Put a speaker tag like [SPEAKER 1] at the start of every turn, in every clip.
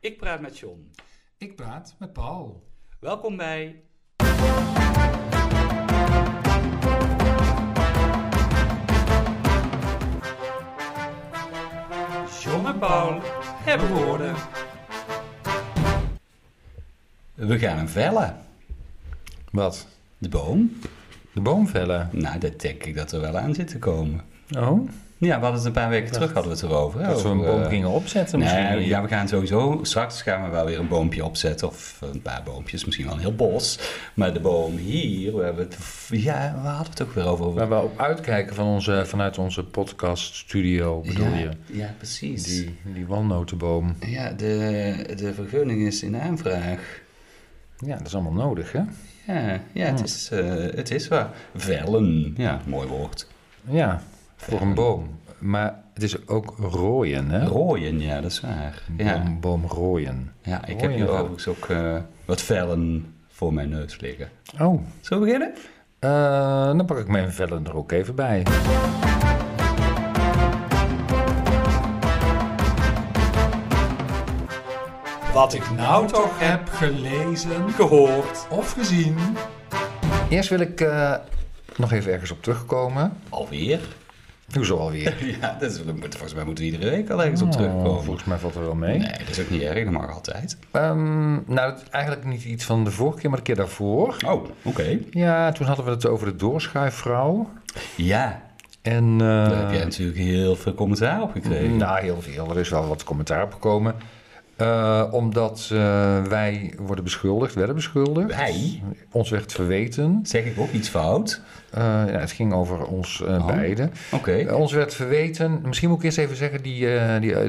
[SPEAKER 1] Ik praat met John.
[SPEAKER 2] Ik praat met Paul.
[SPEAKER 1] Welkom bij. John en Paul hebben woorden. We gaan hem vellen.
[SPEAKER 2] Wat?
[SPEAKER 1] De boom?
[SPEAKER 2] De boom vellen?
[SPEAKER 1] Nou, dat denk ik dat er wel aan zit te komen.
[SPEAKER 2] Oh,
[SPEAKER 1] Ja, we hadden het een paar weken terug hadden we het erover. hè,
[SPEAKER 2] dat we een
[SPEAKER 1] over,
[SPEAKER 2] boom
[SPEAKER 1] eh,
[SPEAKER 2] gingen opzetten
[SPEAKER 1] Nee,
[SPEAKER 2] misschien.
[SPEAKER 1] ja, we gaan sowieso, straks gaan we wel weer een boompje opzetten. Of een paar boompjes, misschien wel een heel bos. Maar de boom hier, we hebben het, ja, we hadden het ook weer over.
[SPEAKER 2] Waar we op uitkijken van onze, vanuit onze podcaststudio, bedoel
[SPEAKER 1] ja,
[SPEAKER 2] je?
[SPEAKER 1] Ja, precies.
[SPEAKER 2] Die, die walnotenboom.
[SPEAKER 1] Ja, de, de vergunning is in aanvraag.
[SPEAKER 2] Ja, dat is allemaal nodig, hè?
[SPEAKER 1] Ja, ja het, is, eh het is waar. Vellen, ja, mooi woord.
[SPEAKER 2] Ja, voor een boom. Maar het is ook rooien, hè?
[SPEAKER 1] Rooien, ja, dat is waar. Ja,
[SPEAKER 2] Boom, boom rooien.
[SPEAKER 1] ja ik heb
[SPEAKER 2] Rooien
[SPEAKER 1] hier
[SPEAKER 2] wel.
[SPEAKER 1] overigens ook eh, wat vellen voor mijn neus liggen.
[SPEAKER 2] Oh,
[SPEAKER 1] Zullen we beginnen?
[SPEAKER 2] eh, dan pak ik mijn vellen er ook even bij.
[SPEAKER 1] Wat ik nou toch heb
[SPEAKER 2] gelezen
[SPEAKER 1] gehoord.
[SPEAKER 2] of gezien. Eerst wil ik eh, nog even ergens op terugkomen.
[SPEAKER 1] Alweer?
[SPEAKER 2] Hoezo alweer?
[SPEAKER 1] Ja, dat is, volgens mij moeten we iedere week al ergens op
[SPEAKER 2] Oh,
[SPEAKER 1] terugkomen.
[SPEAKER 2] volgens mij valt er wel mee.
[SPEAKER 1] Nee, dat is ook niet erg, dat mag altijd.
[SPEAKER 2] Ehm, nou, dat is eigenlijk niet iets van de vorige keer, maar de keer daarvoor.
[SPEAKER 1] Oh, oké.
[SPEAKER 2] Ja, toen hadden we het over de doorschuifvrouw.
[SPEAKER 1] Ja,
[SPEAKER 2] En, eh,
[SPEAKER 1] daar heb jij natuurlijk heel veel commentaar op gekregen.
[SPEAKER 2] Nou, heel veel. Er is wel wat commentaar op gekomen. Eh, omdat eh, wij worden beschuldigd, werden beschuldigd.
[SPEAKER 1] Wij?
[SPEAKER 2] Ons werd verweten.
[SPEAKER 1] Zeg ik ook iets fout?
[SPEAKER 2] Eh, ja, het ging over ons
[SPEAKER 1] Oh.
[SPEAKER 2] eh, beiden.
[SPEAKER 1] Oké.
[SPEAKER 2] Eh, Ons werd verweten, misschien moet ik eerst even zeggen, die, eh, die eh,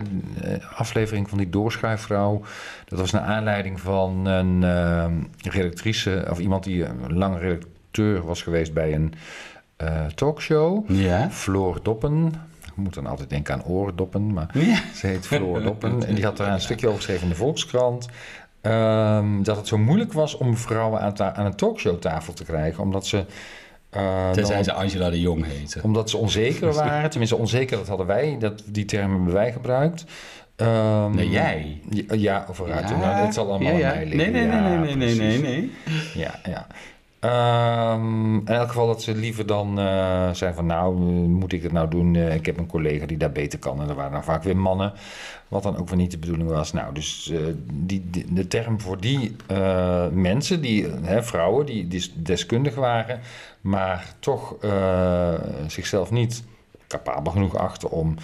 [SPEAKER 2] aflevering van die doorschuifvrouw. Dat was naar aanleiding van een eh, redactrice, of iemand die een lang redacteur was geweest bij een eh, talkshow.
[SPEAKER 1] Ja.
[SPEAKER 2] Floor Doppen. Ik moet dan altijd denken aan oordoppen, maar
[SPEAKER 1] Ja.
[SPEAKER 2] ze heet Floor Doppen. En die had daar een stukje over geschreven in de Volkskrant. ehm, dat het zo moeilijk was om vrouwen aan, ta- aan een talkshowtafel te krijgen, omdat ze. eh, dan
[SPEAKER 1] Tenzij ze Angela de Jong heten.
[SPEAKER 2] omdat ze onzeker waren. Tenminste, onzeker, dat hadden wij. Dat, die term hebben wij gebruikt. Ehm,
[SPEAKER 1] Nee, jij.
[SPEAKER 2] Ja, ja vooruit. Nou, dat zal allemaal
[SPEAKER 1] ja, ja.
[SPEAKER 2] aan mij
[SPEAKER 1] Nee,
[SPEAKER 2] liggen.
[SPEAKER 1] nee, nee,
[SPEAKER 2] Ja,
[SPEAKER 1] nee, nee, nee, nee,
[SPEAKER 2] precies.
[SPEAKER 1] nee.
[SPEAKER 2] Ja, ja. Ehm, in elk geval dat ze liever dan eh zijn van nou, eh, moet ik het nou doen? Eh, ik heb een collega die daar beter kan. En dat waren dan vaak weer mannen. Wat dan ook weer niet de bedoeling was. Nou, dus eh, die, die- de term voor die eh, mensen, die, eh, hè, vrouwen, die, dis- deskundig waren, maar toch eh, zichzelf niet capabel genoeg achten om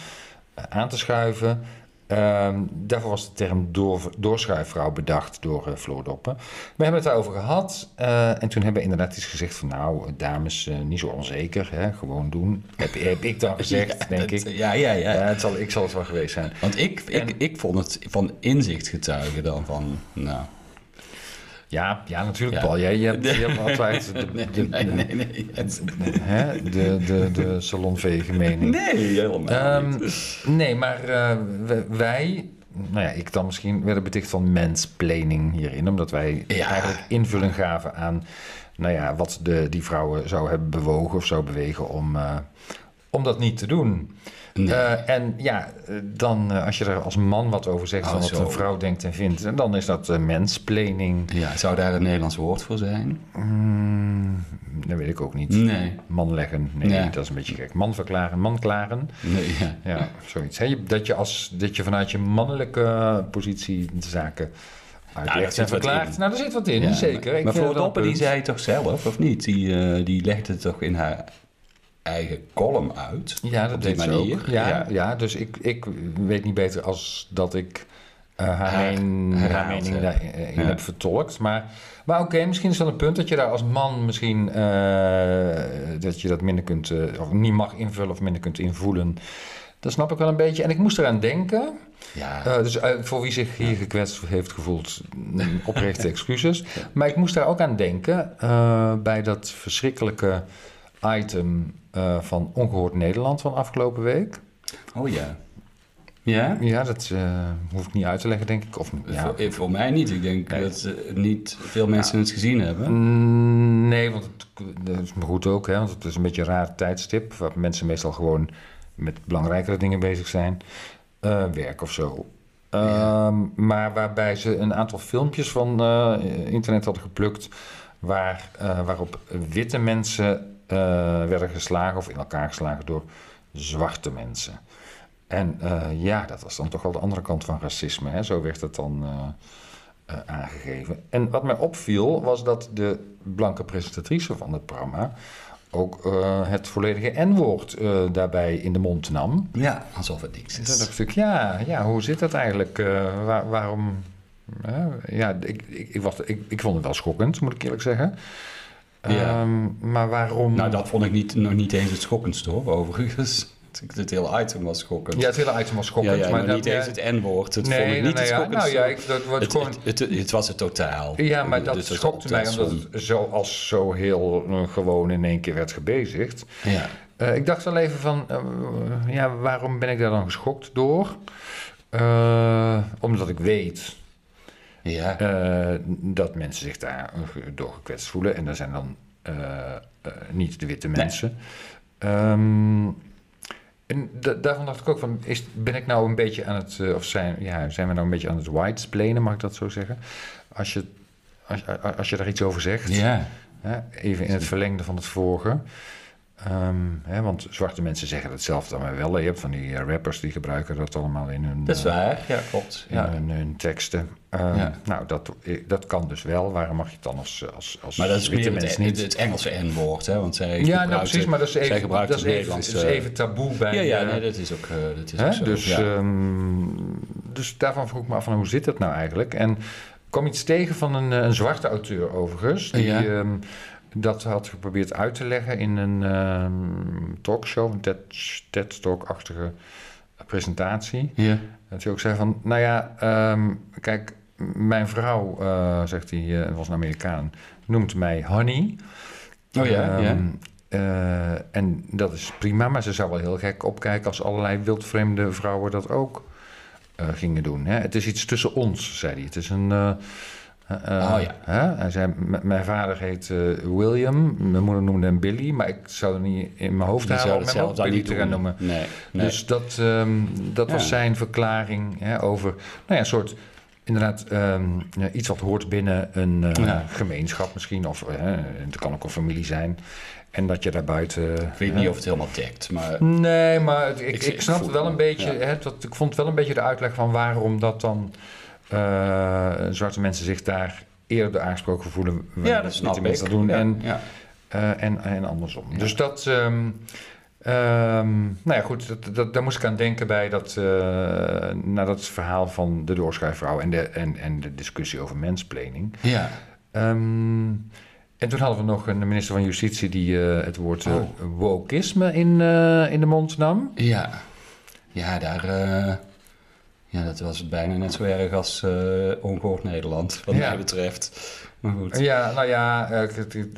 [SPEAKER 2] eh, aan te schuiven. Ehm, daarvoor was de term door, doorschuifvrouw bedacht door eh Floor Doppen. We hebben het daarover gehad eh, en toen hebben we inderdaad iets gezegd van nou, eh, dames, eh, niet zo onzeker, hè, gewoon doen. Heb, heb ik dan gezegd, denk ik.
[SPEAKER 1] Ja, ja, ja.
[SPEAKER 2] Ja, het zal, ik zal het wel geweest zijn.
[SPEAKER 1] Want ik, ik, ik vond het van inzicht getuigen dan van, nou...
[SPEAKER 2] Ja, ja natuurlijk,
[SPEAKER 1] Ja.
[SPEAKER 2] Paul. Jij, je hebt, je hebt altijd de, de, de,
[SPEAKER 1] Nee, nee, nee. het-
[SPEAKER 2] hè, de, de, de salonvege mening.
[SPEAKER 1] Nee, helemaal niet.
[SPEAKER 2] Ehm, nee, maar eh, we- wij, nou ja, ik dan misschien, werden beticht van mansplaining hierin. Omdat wij
[SPEAKER 1] Ja.
[SPEAKER 2] eigenlijk invulling gaven aan nou ja, wat de, die vrouwen zou hebben bewogen of zou bewegen om, eh, om dat niet te doen. Eh, en ja, eh, dan eh, als je er als man wat over zegt,
[SPEAKER 1] Oh,
[SPEAKER 2] van wat
[SPEAKER 1] zo.
[SPEAKER 2] een vrouw denkt en vindt, dan is dat eh, mansplaining.
[SPEAKER 1] Ja, zou daar een Nederlands woord voor zijn?
[SPEAKER 2] Mm, dat weet ik ook niet.
[SPEAKER 1] Nee.
[SPEAKER 2] Man leggen, nee,
[SPEAKER 1] Hm. Ja.
[SPEAKER 2] dat is een beetje gek. Man verklaren, man klaren.
[SPEAKER 1] Nee, ja.
[SPEAKER 2] Ja, zoiets. Hè? Je- Dat, je als, dat je vanuit je mannelijke eh, positie de zaken
[SPEAKER 1] daar
[SPEAKER 2] uitlegt
[SPEAKER 1] zit
[SPEAKER 2] en
[SPEAKER 1] wat
[SPEAKER 2] verklaart.
[SPEAKER 1] in.
[SPEAKER 2] Nou, daar zit wat in,
[SPEAKER 1] Ja,
[SPEAKER 2] zeker.
[SPEAKER 1] Maar,
[SPEAKER 2] Ik
[SPEAKER 1] maar
[SPEAKER 2] vind
[SPEAKER 1] Floor
[SPEAKER 2] dat wel
[SPEAKER 1] Doppen,
[SPEAKER 2] een
[SPEAKER 1] die
[SPEAKER 2] punt.
[SPEAKER 1] zei het toch zelf, of niet? Die, eh, die legde het toch in haar eigen column uit?
[SPEAKER 2] Ja, dat
[SPEAKER 1] op die
[SPEAKER 2] deed ze
[SPEAKER 1] manier.
[SPEAKER 2] ook. Ja, ja.
[SPEAKER 1] Ja.
[SPEAKER 2] dus ik, ik weet niet beter als dat ik eh, haar,
[SPEAKER 1] Haar
[SPEAKER 2] men- haar
[SPEAKER 1] herhaald
[SPEAKER 2] mening
[SPEAKER 1] heb.
[SPEAKER 2] daarin
[SPEAKER 1] Ja.
[SPEAKER 2] heb vertolkt. Maar, maar oké, misschien is dat een punt dat je daar als man misschien... eh, dat je dat minder kunt... eh, of niet mag invullen of minder kunt invoelen. Dat snap ik wel een beetje. En ik moest eraan denken...
[SPEAKER 1] Ja.
[SPEAKER 2] Eh, dus eh, voor wie zich hier gekwetst heeft gevoeld, mm, oprechte excuses. Maar ik moest daar ook aan denken eh, bij dat verschrikkelijke item eh, van Ongehoord Nederland van afgelopen week.
[SPEAKER 1] Oh ja. Ja?
[SPEAKER 2] Ja, dat eh, hoef ik niet uit te leggen, denk ik. Of, ja.
[SPEAKER 1] Voor, eh, voor mij niet. Ik denk dat eh, niet veel mensen het gezien hebben.
[SPEAKER 2] Mm, Nee, want het, dat is me goed ook, hè, want het is een beetje een raar tijdstip waar mensen meestal gewoon met belangrijkere dingen bezig zijn, Eh, werk of zo. Eh, Ehm, Maar waarbij ze een aantal filmpjes van eh, internet hadden geplukt. Waar, eh, waarop witte mensen eh, werden geslagen of in elkaar geslagen door zwarte mensen. En eh, ja, dat was dan toch wel de andere kant van racisme. Hè? Zo werd het dan eh, eh, aangegeven. En wat mij opviel was dat de blanke presentatrice van het programma ook eh, het volledige N-woord eh, daarbij in de mond nam.
[SPEAKER 1] Ja, alsof het niks
[SPEAKER 2] Toen dacht
[SPEAKER 1] is.
[SPEAKER 2] ik, natuurlijk, ja, ja, hoe zit dat eigenlijk? Eh, waar- waarom? hè? ja, ik, ik, ik, was, ik, ik vond het wel schokkend, moet ik eerlijk zeggen.
[SPEAKER 1] Ja.
[SPEAKER 2] Ehm, maar waarom?
[SPEAKER 1] Nou, dat vond ik niet, nog niet eens het schokkendste hoor, overigens. Het hele item was schokkend.
[SPEAKER 2] Ja, het hele item was
[SPEAKER 1] Ja,
[SPEAKER 2] schokkend.
[SPEAKER 1] ja, maar
[SPEAKER 2] dat-
[SPEAKER 1] niet
[SPEAKER 2] ja,
[SPEAKER 1] eens het N-woord. Dat vond ik niet het
[SPEAKER 2] ja, nou
[SPEAKER 1] schokkendste.
[SPEAKER 2] ja, ik, dat wordt
[SPEAKER 1] het,
[SPEAKER 2] gewoon...
[SPEAKER 1] het, het, het was het totaal.
[SPEAKER 2] Ja, maar dat
[SPEAKER 1] Dus
[SPEAKER 2] schokte mij omdat
[SPEAKER 1] optelsom.
[SPEAKER 2] het zo als zo heel eh, gewoon in één keer werd gebezigd.
[SPEAKER 1] Ja.
[SPEAKER 2] Eh, ik dacht al even van, eh, ja, waarom ben ik daar dan geschokt door? Eh, omdat ik weet
[SPEAKER 1] Ja.
[SPEAKER 2] eh, dat mensen zich daar door gekwetst voelen. En dat zijn dan eh, eh, niet de witte
[SPEAKER 1] Nee.
[SPEAKER 2] mensen. Ehm, en da- daarvan dacht ik ook van, is, ben ik nou een beetje aan het, eh, of zijn, ja, zijn we nou een beetje aan het whitesplainen, mag ik dat zo zeggen? Als je, als, a- a- als je daar iets over zegt,
[SPEAKER 1] ja.
[SPEAKER 2] hè, even in het verlengde van het vorige. Ehm, hè, want zwarte mensen zeggen hetzelfde dan wij wel. Je hebt van die eh, rappers die gebruiken dat allemaal in hun...
[SPEAKER 1] Dat is
[SPEAKER 2] eh,
[SPEAKER 1] waar. Ja, klopt.
[SPEAKER 2] in hun, hun teksten. Ehm,
[SPEAKER 1] Ja.
[SPEAKER 2] Nou, dat, dat kan dus wel. Waarom mag je het dan als, als, als
[SPEAKER 1] Maar dat is
[SPEAKER 2] witte
[SPEAKER 1] meer het,
[SPEAKER 2] mens
[SPEAKER 1] het,
[SPEAKER 2] niet?
[SPEAKER 1] het Engelse N-woord, hè? Want zij
[SPEAKER 2] ja,
[SPEAKER 1] gebruikt
[SPEAKER 2] nou, precies,
[SPEAKER 1] het-
[SPEAKER 2] maar dat is
[SPEAKER 1] zij
[SPEAKER 2] even,
[SPEAKER 1] gebruikt
[SPEAKER 2] dat is
[SPEAKER 1] het
[SPEAKER 2] even,
[SPEAKER 1] Nederlandse...
[SPEAKER 2] het is even taboe bij...
[SPEAKER 1] ja, ja,
[SPEAKER 2] eh,
[SPEAKER 1] nee, dat is ook, eh, dat is
[SPEAKER 2] hè?
[SPEAKER 1] ook zo.
[SPEAKER 2] Dus,
[SPEAKER 1] ja.
[SPEAKER 2] ehm, dus daarvan vroeg ik me af van hoe zit dat nou eigenlijk? En ik kwam iets tegen van een, eh, een zwarte auteur overigens, die
[SPEAKER 1] Ja.
[SPEAKER 2] ehm, dat had geprobeerd uit te leggen in een ehm, talkshow, een TED, TED Talk-achtige presentatie.
[SPEAKER 1] ja.
[SPEAKER 2] Dat hij ook zei van, nou ja, ehm, kijk, mijn vrouw, eh, zegt hij, eh, was een Amerikaan, noemt mij honey.
[SPEAKER 1] Oh ja, ja.
[SPEAKER 2] Ehm, eh, en dat is prima, maar ze zou wel heel gek opkijken als allerlei wildvreemde vrouwen dat ook eh, gingen doen. Hè? Het is iets tussen ons, zei hij. Het is een... eh, eh,
[SPEAKER 1] Oh ja.
[SPEAKER 2] hè? Hij zei, "M- mijn vader heet eh, William, mijn moeder noemde hem Billy, maar ik zou er niet in mijn hoofd
[SPEAKER 1] Die
[SPEAKER 2] halen
[SPEAKER 1] zou
[SPEAKER 2] om
[SPEAKER 1] het
[SPEAKER 2] hem
[SPEAKER 1] zelf
[SPEAKER 2] ook
[SPEAKER 1] dan
[SPEAKER 2] Billy
[SPEAKER 1] niet
[SPEAKER 2] te gaan
[SPEAKER 1] doen.
[SPEAKER 2] noemen.
[SPEAKER 1] Nee, nee.
[SPEAKER 2] Dus dat, ehm, dat was
[SPEAKER 1] Ja.
[SPEAKER 2] zijn verklaring hè, over nou ja, een soort. Inderdaad, ehm, ja, iets wat hoort binnen een eh,
[SPEAKER 1] Ja.
[SPEAKER 2] gemeenschap misschien. Of eh, het kan ook een familie zijn. En dat je daarbuiten.
[SPEAKER 1] ik weet niet of het helemaal dekt, maar...
[SPEAKER 2] Nee, maar het- ik,
[SPEAKER 1] Ik-
[SPEAKER 2] ik,
[SPEAKER 1] ik
[SPEAKER 2] snap
[SPEAKER 1] voel-
[SPEAKER 2] wel een beetje.
[SPEAKER 1] ja.
[SPEAKER 2] Hè, dat, ik vond wel een beetje de uitleg van waarom dat dan. eh, zwarte mensen zich daar eerder aangesproken voelen.
[SPEAKER 1] Ja,
[SPEAKER 2] wanneer
[SPEAKER 1] dat
[SPEAKER 2] witte
[SPEAKER 1] snap ik.
[SPEAKER 2] mensen dat doen.
[SPEAKER 1] Ja,
[SPEAKER 2] En
[SPEAKER 1] ja.
[SPEAKER 2] eh, en, en andersom.
[SPEAKER 1] Ja.
[SPEAKER 2] Dus dat. ehm, ehm, nou ja, goed, dat, dat, daar moest ik aan denken bij dat, eh na dat verhaal van de doorschuifvrouw en de, en, en de discussie over mensplanning.
[SPEAKER 1] Ja.
[SPEAKER 2] Ehm, en toen hadden we nog een minister van Justitie die eh, het woord eh,
[SPEAKER 1] Oh.
[SPEAKER 2] wokisme in, eh, in de mond nam.
[SPEAKER 1] Ja, ja daar. eh, ja, dat was bijna net zo erg als eh ongehoord Nederland, wat
[SPEAKER 2] Ja.
[SPEAKER 1] mij betreft. Maar goed.
[SPEAKER 2] Ja, nou ja, eh, het- het-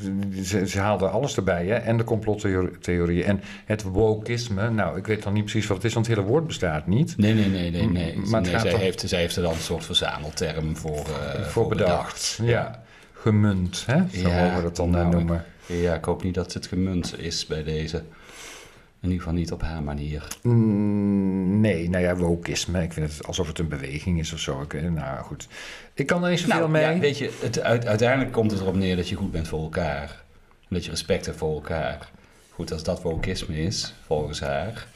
[SPEAKER 2] ze, ze haalden alles erbij, hè? En de complottheorieën en het wokisme. Nou, ik weet dan niet precies wat het is, want het hele woord bestaat niet.
[SPEAKER 1] Nee, nee, nee, nee. nee.
[SPEAKER 2] M- maar het
[SPEAKER 1] nee
[SPEAKER 2] gaat
[SPEAKER 1] zij,
[SPEAKER 2] toch-
[SPEAKER 1] heeft, zij heeft er dan een soort verzamelterm voor, eh,
[SPEAKER 2] voor bedacht. Ja, gemunt, hè? Zo
[SPEAKER 1] Ja,
[SPEAKER 2] mogen we dat dan eh,
[SPEAKER 1] nou,
[SPEAKER 2] noemen.
[SPEAKER 1] Ja, ik hoop niet dat het gemunt is bij deze. In ieder geval niet op haar manier.
[SPEAKER 2] Mm, nee, nou ja, wokisme. Ik vind het alsof het een beweging is of zo. Ik, eh, nou goed, ik kan er niet zoveel
[SPEAKER 1] Nou,
[SPEAKER 2] mee.
[SPEAKER 1] ja, weet je, het, uit- uiteindelijk komt het erop neer dat je goed bent voor elkaar. En dat je respect hebt voor elkaar. Goed, als dat wokisme is, volgens haar,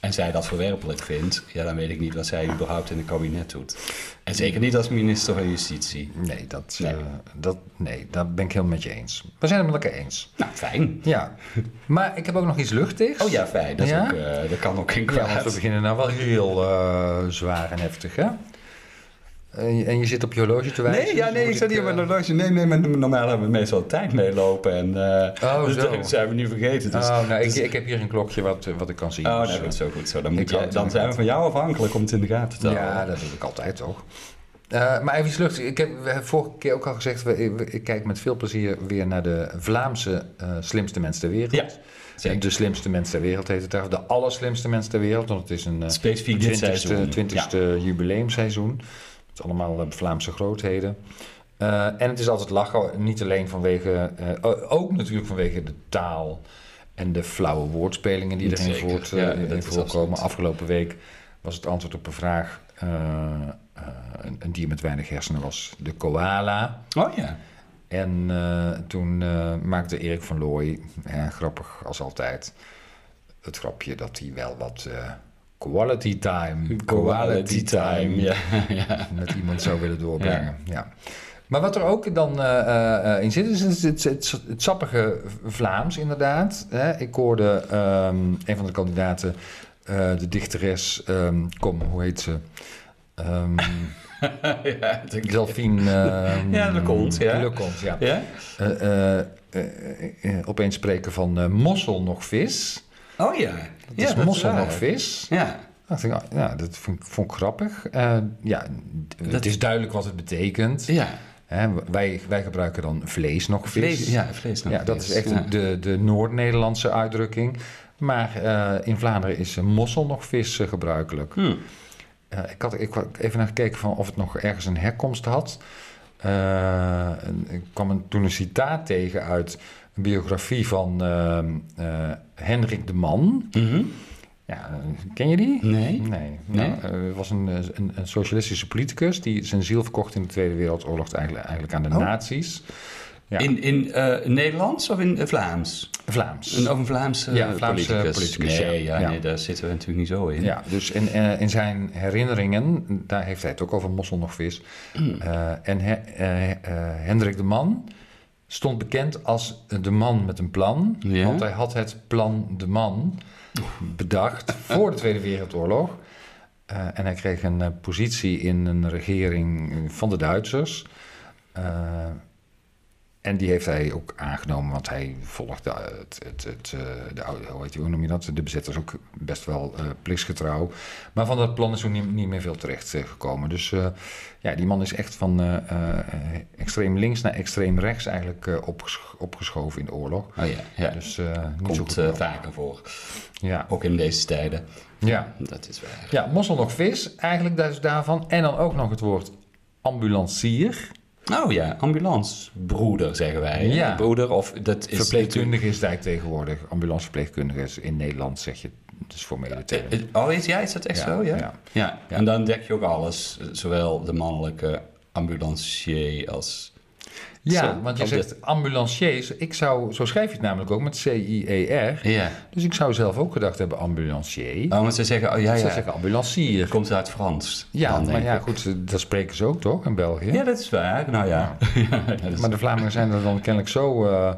[SPEAKER 1] en zij dat verwerpelijk vindt, ja, dan weet ik niet wat zij überhaupt in het kabinet doet. En zeker niet als minister van Justitie.
[SPEAKER 2] Nee, dat,
[SPEAKER 1] Nee.
[SPEAKER 2] nee. dat, nee, dat ben ik helemaal met je eens. We zijn het met elkaar eens.
[SPEAKER 1] Nou, fijn.
[SPEAKER 2] Ja, maar ik heb ook nog iets luchtigs.
[SPEAKER 1] Oh ja, fijn. Dat, is
[SPEAKER 2] Ja?
[SPEAKER 1] ook, eh, dat kan ook geen
[SPEAKER 2] Ja, want we
[SPEAKER 1] kwaad.
[SPEAKER 2] beginnen nou wel heel eh, zwaar en heftig, hè? En je, en je zit op je horloge te wijzen.
[SPEAKER 1] Nee, ja,
[SPEAKER 2] dus
[SPEAKER 1] nee,
[SPEAKER 2] moet
[SPEAKER 1] ik zat hier
[SPEAKER 2] eh,
[SPEAKER 1] met een horloge. Nee, nee, maar normaal hebben we meestal de tijd meelopen. En, eh,
[SPEAKER 2] Oh,
[SPEAKER 1] dus
[SPEAKER 2] zo.
[SPEAKER 1] dat zijn we nu vergeten. Dus,
[SPEAKER 2] Oh, nou, ik,
[SPEAKER 1] dus-
[SPEAKER 2] ik heb hier een klokje wat, eh, wat ik kan zien.
[SPEAKER 1] oh,
[SPEAKER 2] dus,
[SPEAKER 1] nou
[SPEAKER 2] eh,
[SPEAKER 1] goed, zo goed. Zo. Dan,
[SPEAKER 2] Ik
[SPEAKER 1] moet
[SPEAKER 2] kan
[SPEAKER 1] je,
[SPEAKER 2] het
[SPEAKER 1] dan zijn we van jou afhankelijk om het in de gaten te houden.
[SPEAKER 2] Ja, dat doe ik altijd toch. Eh, maar even iets luchtigs. Ik heb we hebben vorige keer ook al gezegd, we, we- ik kijk met veel plezier weer naar de Vlaamse eh, slimste mens ter wereld.
[SPEAKER 1] Ja, dus- zeker.
[SPEAKER 2] De slimste mens ter wereld heet het daar. De allerslimste mens ter wereld, want het is een eh,
[SPEAKER 1] Specifiek dit seizoen,
[SPEAKER 2] 20ste, 20ste jubileumseizoen. Het is allemaal eh, Vlaamse grootheden. Eh, en het is altijd lachen, niet alleen vanwege, eh, o- ook natuurlijk vanwege de taal en de flauwe woordspelingen die erin
[SPEAKER 1] Zeker,
[SPEAKER 2] voort,
[SPEAKER 1] ja,
[SPEAKER 2] eh, in
[SPEAKER 1] dat is
[SPEAKER 2] voorkomen.
[SPEAKER 1] absoluut.
[SPEAKER 2] Afgelopen week was het antwoord op een vraag eh, eh, een, een dier met weinig hersenen was de koala.
[SPEAKER 1] Oh ja.
[SPEAKER 2] En eh, toen eh, maakte Erik van Looy, ja, grappig als altijd, het grapje dat hij wel wat eh, quality time,
[SPEAKER 1] Ja, ja.
[SPEAKER 2] met iemand zou willen doorbrengen. Ja. Maar wat er ook dan eh, eh, eh, in zit, is het, het, het, het sappige Vlaams inderdaad. Hè? Ik hoorde ehm, een van de kandidaten, eh, de dichteres, ehm, kom, hoe heet ze? Ehm
[SPEAKER 1] ja, dat denk ik.
[SPEAKER 2] Delphine... ehm,
[SPEAKER 1] Ja, Le Conte, ja.
[SPEAKER 2] Le Conte, ja.
[SPEAKER 1] Ja?
[SPEAKER 2] Eh, eh, eh, eh, opeens spreken van eh, mossel nog vis.
[SPEAKER 1] Oh ja. Ja,
[SPEAKER 2] Dat is mossel nog vis.
[SPEAKER 1] Ja.
[SPEAKER 2] Dacht ik, ah, ja, dat vond, ik- vond ik grappig. Eh, ja, d-
[SPEAKER 1] Dat-
[SPEAKER 2] het is duidelijk wat het betekent.
[SPEAKER 1] Ja.
[SPEAKER 2] Hè, wij, wij gebruiken dan vlees nog vis.
[SPEAKER 1] Vlees, ja, vlees nog
[SPEAKER 2] Ja, dat
[SPEAKER 1] vis.
[SPEAKER 2] is echt
[SPEAKER 1] Ja.
[SPEAKER 2] de, de Noord-Nederlandse uitdrukking. Maar eh, in Vlaanderen is eh, mossel nog vis eh, gebruikelijk.
[SPEAKER 1] Hmm.
[SPEAKER 2] Eh, ik, had, ik had even naar gekeken van of het nog ergens een herkomst had. Eh, en ik kwam een- toen een citaat tegen uit een biografie van ehm, eh, Hendrik de Man.
[SPEAKER 1] Mhm.
[SPEAKER 2] Ja, eh, ken je die?
[SPEAKER 1] Nee.
[SPEAKER 2] Nee.
[SPEAKER 1] Nee?
[SPEAKER 2] Nou, eh, het was een, eh, een, een socialistische politicus die zijn ziel verkocht in de Tweede Wereldoorlog eigenlijk, eigenlijk aan de
[SPEAKER 1] Oh.
[SPEAKER 2] nazi's. Ja.
[SPEAKER 1] In, in eh, Nederlands of in eh, Vlaams?
[SPEAKER 2] Vlaams.
[SPEAKER 1] Een, of een Vlaamse
[SPEAKER 2] Ja,
[SPEAKER 1] eh,
[SPEAKER 2] Vlaamse politicus,
[SPEAKER 1] Nee,
[SPEAKER 2] ja.
[SPEAKER 1] ja,
[SPEAKER 2] Ja.
[SPEAKER 1] Nee, daar zitten we natuurlijk niet zo in.
[SPEAKER 2] Ja, dus in, eh, in zijn herinneringen, daar heeft hij het ook over mossel nog vis.
[SPEAKER 1] Mm.
[SPEAKER 2] Eh, en he- eh, eh, Hendrik de Man stond bekend als de man met een plan.
[SPEAKER 1] Ja.
[SPEAKER 2] Want hij had het plan de man bedacht voor de Tweede Wereldoorlog. Eh, en hij kreeg een eh, positie in een regering van de Duitsers. Eh, en die heeft hij ook aangenomen, want hij volgde het, het, het, eh, de, oude- hoe, heet die, hoe noem je dat? De bezetters ook best wel eh plichtsgetrouw. Maar van dat plan is ook niet, niet meer veel terecht eh, gekomen. Dus eh, ja, die man is echt van eh, eh, eh, extreem links naar extreem rechts eigenlijk eh, opgesch- opgeschoven in de oorlog.
[SPEAKER 1] Oh ja, ja.
[SPEAKER 2] Dus eh, niet zo
[SPEAKER 1] komt
[SPEAKER 2] goed.
[SPEAKER 1] eh,
[SPEAKER 2] meer.
[SPEAKER 1] vaker voor.
[SPEAKER 2] ja.
[SPEAKER 1] Ook in deze tijden.
[SPEAKER 2] ja.
[SPEAKER 1] Dat is waar.
[SPEAKER 2] Ja, mossel nog vis, eigenlijk dus daarvan. En dan ook nog het woord ambulancier.
[SPEAKER 1] Oh ja, ambulancebroeder zeggen wij. hè?
[SPEAKER 2] Ja.
[SPEAKER 1] Broeder of dat is...
[SPEAKER 2] Verpleegkundige is daar tegenwoordig. Ambulanceverpleegkundige is in Nederland, zeg je, dus formele term.
[SPEAKER 1] Eh, Oh, is, ja, is dat echt
[SPEAKER 2] Ja,
[SPEAKER 1] zo? Ja?
[SPEAKER 2] ja.
[SPEAKER 1] Ja. en dan dek je ook alles. Zowel de mannelijke ambulancier als...
[SPEAKER 2] Ja,
[SPEAKER 1] Zo,
[SPEAKER 2] want je
[SPEAKER 1] kan
[SPEAKER 2] zegt ambulanciers. Ik zou, zo schrijf je het namelijk ook met C-I-E-R.
[SPEAKER 1] Ja.
[SPEAKER 2] Dus ik zou zelf ook gedacht hebben ambulancier.
[SPEAKER 1] Oh, maar ze zeggen, oh ja,
[SPEAKER 2] Ze
[SPEAKER 1] ja,
[SPEAKER 2] zeggen ambulancier.
[SPEAKER 1] komt uit Frans.
[SPEAKER 2] Ja,
[SPEAKER 1] dan,
[SPEAKER 2] maar
[SPEAKER 1] denk
[SPEAKER 2] ja,
[SPEAKER 1] ik.
[SPEAKER 2] goed, eh, dat spreken ze ook toch in België? dus-
[SPEAKER 1] Ja, dat is waar. Nou ja. Ja, dat is-
[SPEAKER 2] Maar de Vlamingen zijn er dan kennelijk zo eh,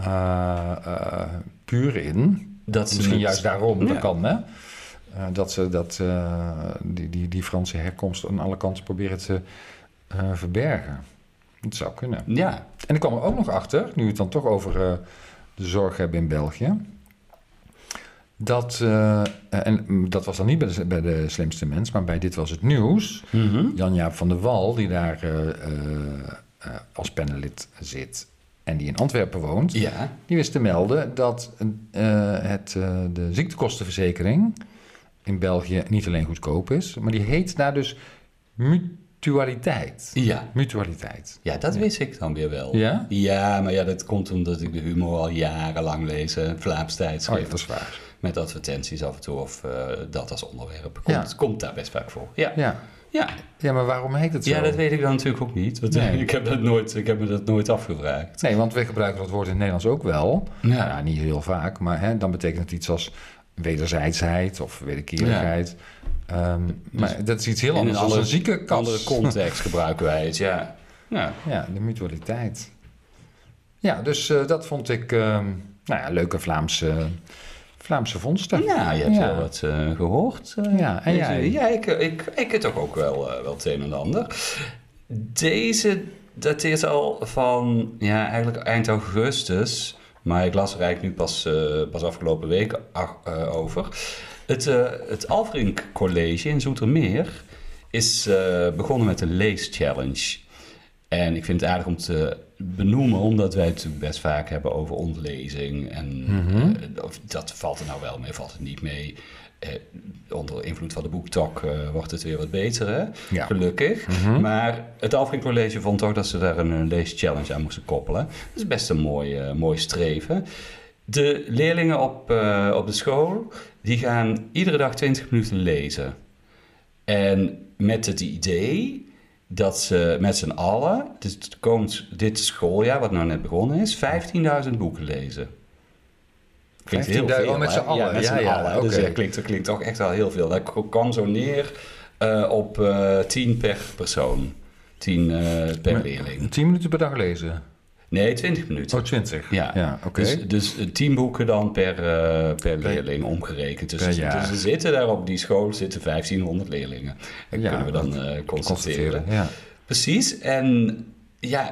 [SPEAKER 2] eh, eh, puur in.
[SPEAKER 1] dat ze
[SPEAKER 2] Misschien
[SPEAKER 1] het-
[SPEAKER 2] juist daarom, dat
[SPEAKER 1] Ja.
[SPEAKER 2] kan hè. Eh, dat ze dat, eh, die, die, die Franse herkomst aan alle kanten proberen te eh, verbergen. Dat zou kunnen.
[SPEAKER 1] Ja,
[SPEAKER 2] En ik kwam er ook nog achter, nu we het dan toch over eh, de zorg hebben in België. Dat, eh, en dat was dan niet bij de, bij de slimste mens, maar bij Dit Was Het Nieuws.
[SPEAKER 1] Mhm.
[SPEAKER 2] Jan-Jaap van der Wal, die daar eh, eh, eh, als panelid zit en die in Antwerpen woont.
[SPEAKER 1] ja.
[SPEAKER 2] Die wist te melden dat eh, het, eh, de ziektekostenverzekering in België niet alleen goedkoop is, maar die heet daar dus mutualiteit.
[SPEAKER 1] ja.
[SPEAKER 2] Mutualiteit.
[SPEAKER 1] Ja, dat wist ik dan weer wel.
[SPEAKER 2] Ja?
[SPEAKER 1] Ja, maar ja, dat komt omdat ik de humor al jarenlang lees. eh, Vlaams
[SPEAKER 2] Oh ja,
[SPEAKER 1] tijdschrift.
[SPEAKER 2] dat is waar.
[SPEAKER 1] Met advertenties af en toe of eh, dat als onderwerp. Komt,
[SPEAKER 2] Ja.
[SPEAKER 1] komt daar best vaak voor. Ja, ja.
[SPEAKER 2] Ja.
[SPEAKER 1] ja.
[SPEAKER 2] ja, maar waarom heet het zo?
[SPEAKER 1] dat weet ik dan natuurlijk ook niet. Want
[SPEAKER 2] Nee.
[SPEAKER 1] ik, heb dat nooit, ik heb me dat nooit afgevraagd.
[SPEAKER 2] Nee, want we gebruiken dat woord in het Nederlands ook wel.
[SPEAKER 1] Ja.
[SPEAKER 2] Nou, niet heel vaak, maar hè, dan betekent het iets als wederzijdsheid of wederkerigheid. Ehm, maar dat is iets heel
[SPEAKER 1] Dus In
[SPEAKER 2] anders
[SPEAKER 1] een
[SPEAKER 2] dan een
[SPEAKER 1] andere-
[SPEAKER 2] zieke
[SPEAKER 1] andere context gebruiken wij het, ja. Ja,
[SPEAKER 2] Ja, de mutualiteit. Ja, dus eh, dat vond ik ehm, nou ja, leuke Vlaamse, Vlaamse vondsten.
[SPEAKER 1] ja je hebt
[SPEAKER 2] Ja.
[SPEAKER 1] wel wat eh, gehoord. eh,
[SPEAKER 2] Ja, en
[SPEAKER 1] deze-
[SPEAKER 2] jij?
[SPEAKER 1] Ja, ik, ik, ik het toch ook wel, eh, wel het een en ander. Deze dateert al van, ja, eigenlijk eind augustus. Maar ik las er eigenlijk nu pas, eh, pas afgelopen week ach- eh, over. Het, eh het Alfrink College in Zoetermeer is eh, begonnen met een leeschallenge. En ik vind het aardig om te benoemen, omdat wij het best vaak hebben over ontlezing. En
[SPEAKER 2] Mhm.
[SPEAKER 1] eh, of dat valt er nou wel mee, valt het niet mee. Eh, onder invloed van de boektok eh, wordt het weer wat beter, hè?
[SPEAKER 2] Ja.
[SPEAKER 1] gelukkig. Maar het Alfred College vond toch dat ze daar een, een leeschallenge aan moesten koppelen. Dat is best een mooi, eh, mooi streven. De leerlingen op, eh, op de school, die gaan iedere dag 20 minuten lezen. En met het idee dat ze met z'n allen, dus het komend, dit schooljaar wat nou net begonnen is, 15.000 boeken lezen. Klinkt heel
[SPEAKER 2] 15.000
[SPEAKER 1] veel,
[SPEAKER 2] oh, met
[SPEAKER 1] hè?
[SPEAKER 2] z'n allen.
[SPEAKER 1] Ja, met
[SPEAKER 2] Ja,
[SPEAKER 1] z'n
[SPEAKER 2] ja,
[SPEAKER 1] allen. Dus
[SPEAKER 2] oké.
[SPEAKER 1] dat klinkt, dat klinkt toch echt wel heel veel. Dat k- kwam zo neer eh, op eh 10 per persoon. 10 eh, per
[SPEAKER 2] Maar-
[SPEAKER 1] leerling.
[SPEAKER 2] 10 minuten per dag lezen.
[SPEAKER 1] Nee, 20 minuten.
[SPEAKER 2] Oh, 20.
[SPEAKER 1] Ja,
[SPEAKER 2] ja oké.
[SPEAKER 1] Dus, dus eh, tien boeken dan per, eh, per leerling omgerekend. Dus,
[SPEAKER 2] per
[SPEAKER 1] dus
[SPEAKER 2] jaar.
[SPEAKER 1] er zitten daar op die school zitten 1500 leerlingen. Dat
[SPEAKER 2] Ja,
[SPEAKER 1] kunnen we dan eh,
[SPEAKER 2] Constateren.
[SPEAKER 1] constateren.
[SPEAKER 2] Ja.
[SPEAKER 1] Precies. En ja,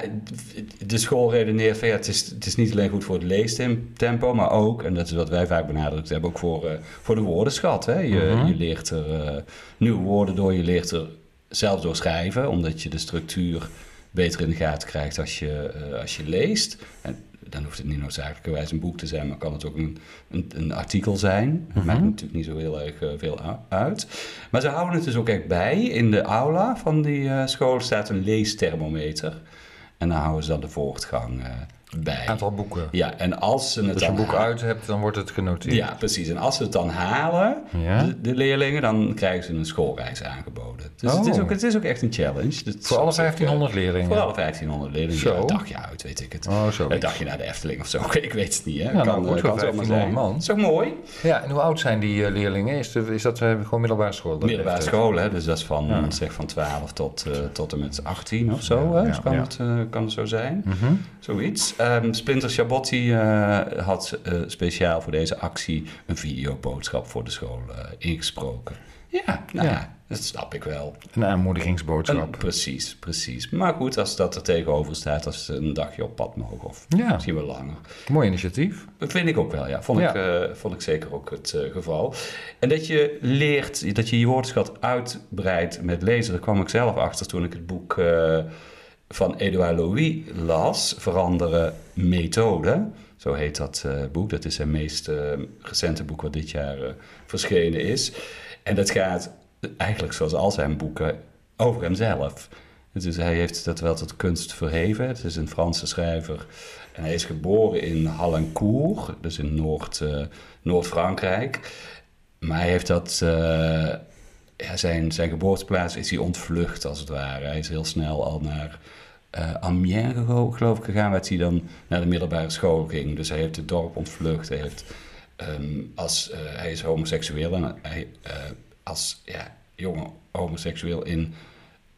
[SPEAKER 1] de school redeneert van ja, het is, het is niet alleen goed voor het leestempo, maar ook, en dat is wat wij vaak benadrukt hebben, ook voor, eh, voor de woordenschat. Hè? Je,
[SPEAKER 2] Mhm.
[SPEAKER 1] je leert er eh, nieuwe woorden door, je leert er zelf door schrijven, omdat je de structuur beter in de gaten krijgt als je, eh, als je leest. En dan hoeft het niet noodzakelijkerwijs een boek te zijn, maar kan het ook een, een, een artikel zijn.
[SPEAKER 2] Mhm.
[SPEAKER 1] Maakt natuurlijk niet zo heel erg eh, veel a- uit. Maar ze houden het dus ook echt bij. In de aula van die eh, school staat een leesthermometer. En daar houden ze dan de voortgang eh, bij.
[SPEAKER 2] Aantal boeken.
[SPEAKER 1] Ja, en als ze het
[SPEAKER 2] Als je
[SPEAKER 1] dan
[SPEAKER 2] een boek
[SPEAKER 1] ha-
[SPEAKER 2] uit hebt, dan wordt het genoteerd.
[SPEAKER 1] Ja, precies. En als ze het dan halen,
[SPEAKER 2] Ja?
[SPEAKER 1] de, de leerlingen, dan krijgen ze een schoolreis aangeboden. Dus het, is
[SPEAKER 2] Oh.
[SPEAKER 1] ook, het is ook echt een challenge. Dus
[SPEAKER 2] Voor alle
[SPEAKER 1] op zich, eh,
[SPEAKER 2] 1500 leerlingen.
[SPEAKER 1] Voor alle 1500 leerlingen.
[SPEAKER 2] Zo.
[SPEAKER 1] Ja, een dagje uit, weet ik het.
[SPEAKER 2] Oh, zo.
[SPEAKER 1] Een dagje naar de Efteling of zo, ik weet het niet. Hè.
[SPEAKER 2] nou
[SPEAKER 1] kan,
[SPEAKER 2] goed,
[SPEAKER 1] eh, kan
[SPEAKER 2] voor
[SPEAKER 1] zomaar
[SPEAKER 2] 1500
[SPEAKER 1] zijn.
[SPEAKER 2] man.
[SPEAKER 1] is ook mooi.
[SPEAKER 2] Ja, en hoe oud zijn die eh, leerlingen? Is, de, is dat eh, gewoon middelbare school? dat
[SPEAKER 1] Middelbare
[SPEAKER 2] leeftijd?
[SPEAKER 1] school, hè? dus dat is van,
[SPEAKER 2] Ja.
[SPEAKER 1] zeg van 12 tot, eh, tot en met 18 of zo.
[SPEAKER 2] Ja,
[SPEAKER 1] hè? Dus
[SPEAKER 2] ja,
[SPEAKER 1] kan,
[SPEAKER 2] ja.
[SPEAKER 1] Het, eh, kan het zo zijn.
[SPEAKER 2] Mhm.
[SPEAKER 1] Zoiets. Ehm Splinter Chabot die, eh, had eh, speciaal voor deze actie een videoboodschap voor de school eh, ingesproken. Ja, nou
[SPEAKER 2] eh? Ja.
[SPEAKER 1] ja, dat snap ik wel.
[SPEAKER 2] Een
[SPEAKER 1] Een-
[SPEAKER 2] aanmoedigingsboodschap.
[SPEAKER 1] precies, precies. Maar goed, als dat er tegenover staat, als ze een dagje op pad mogen of
[SPEAKER 2] Ja,
[SPEAKER 1] misschien wel langer.
[SPEAKER 2] mooi initiatief.
[SPEAKER 1] Dat vind ik ook wel, ja. Vond,
[SPEAKER 2] Ja.
[SPEAKER 1] Ik, eh, vond ik zeker ook het eh, geval. En dat je leert, dat je je woordenschat uitbreidt met lezen, daar kwam ik zelf achter toen ik het boek eh, van Edouard Louis las, Veranderen Methode. Zo heet dat eh, boek. Dat is zijn meest eh, recente boek wat dit jaar eh, verschenen is. En dat gaat eigenlijk zoals al zijn boeken over hemzelf. Dus hij heeft dat wel tot kunst verheven. Het is een Franse schrijver. En hij is geboren in Hallencourt, dus in Noord, eh, Noord-Frankrijk. Maar hij heeft dat. eh, ja, zijn, zijn geboorteplaats is hij ontvlucht, als het ware. Hij is heel snel al naar eh, Amiens, gego- geloof ik, gegaan, waar hij dan naar de middelbare school ging. Dus hij heeft het dorp ontvlucht. Hij, heeft, ehm, als, eh, hij is homoseksueel en hij, eh, als ja, jonge homoseksueel in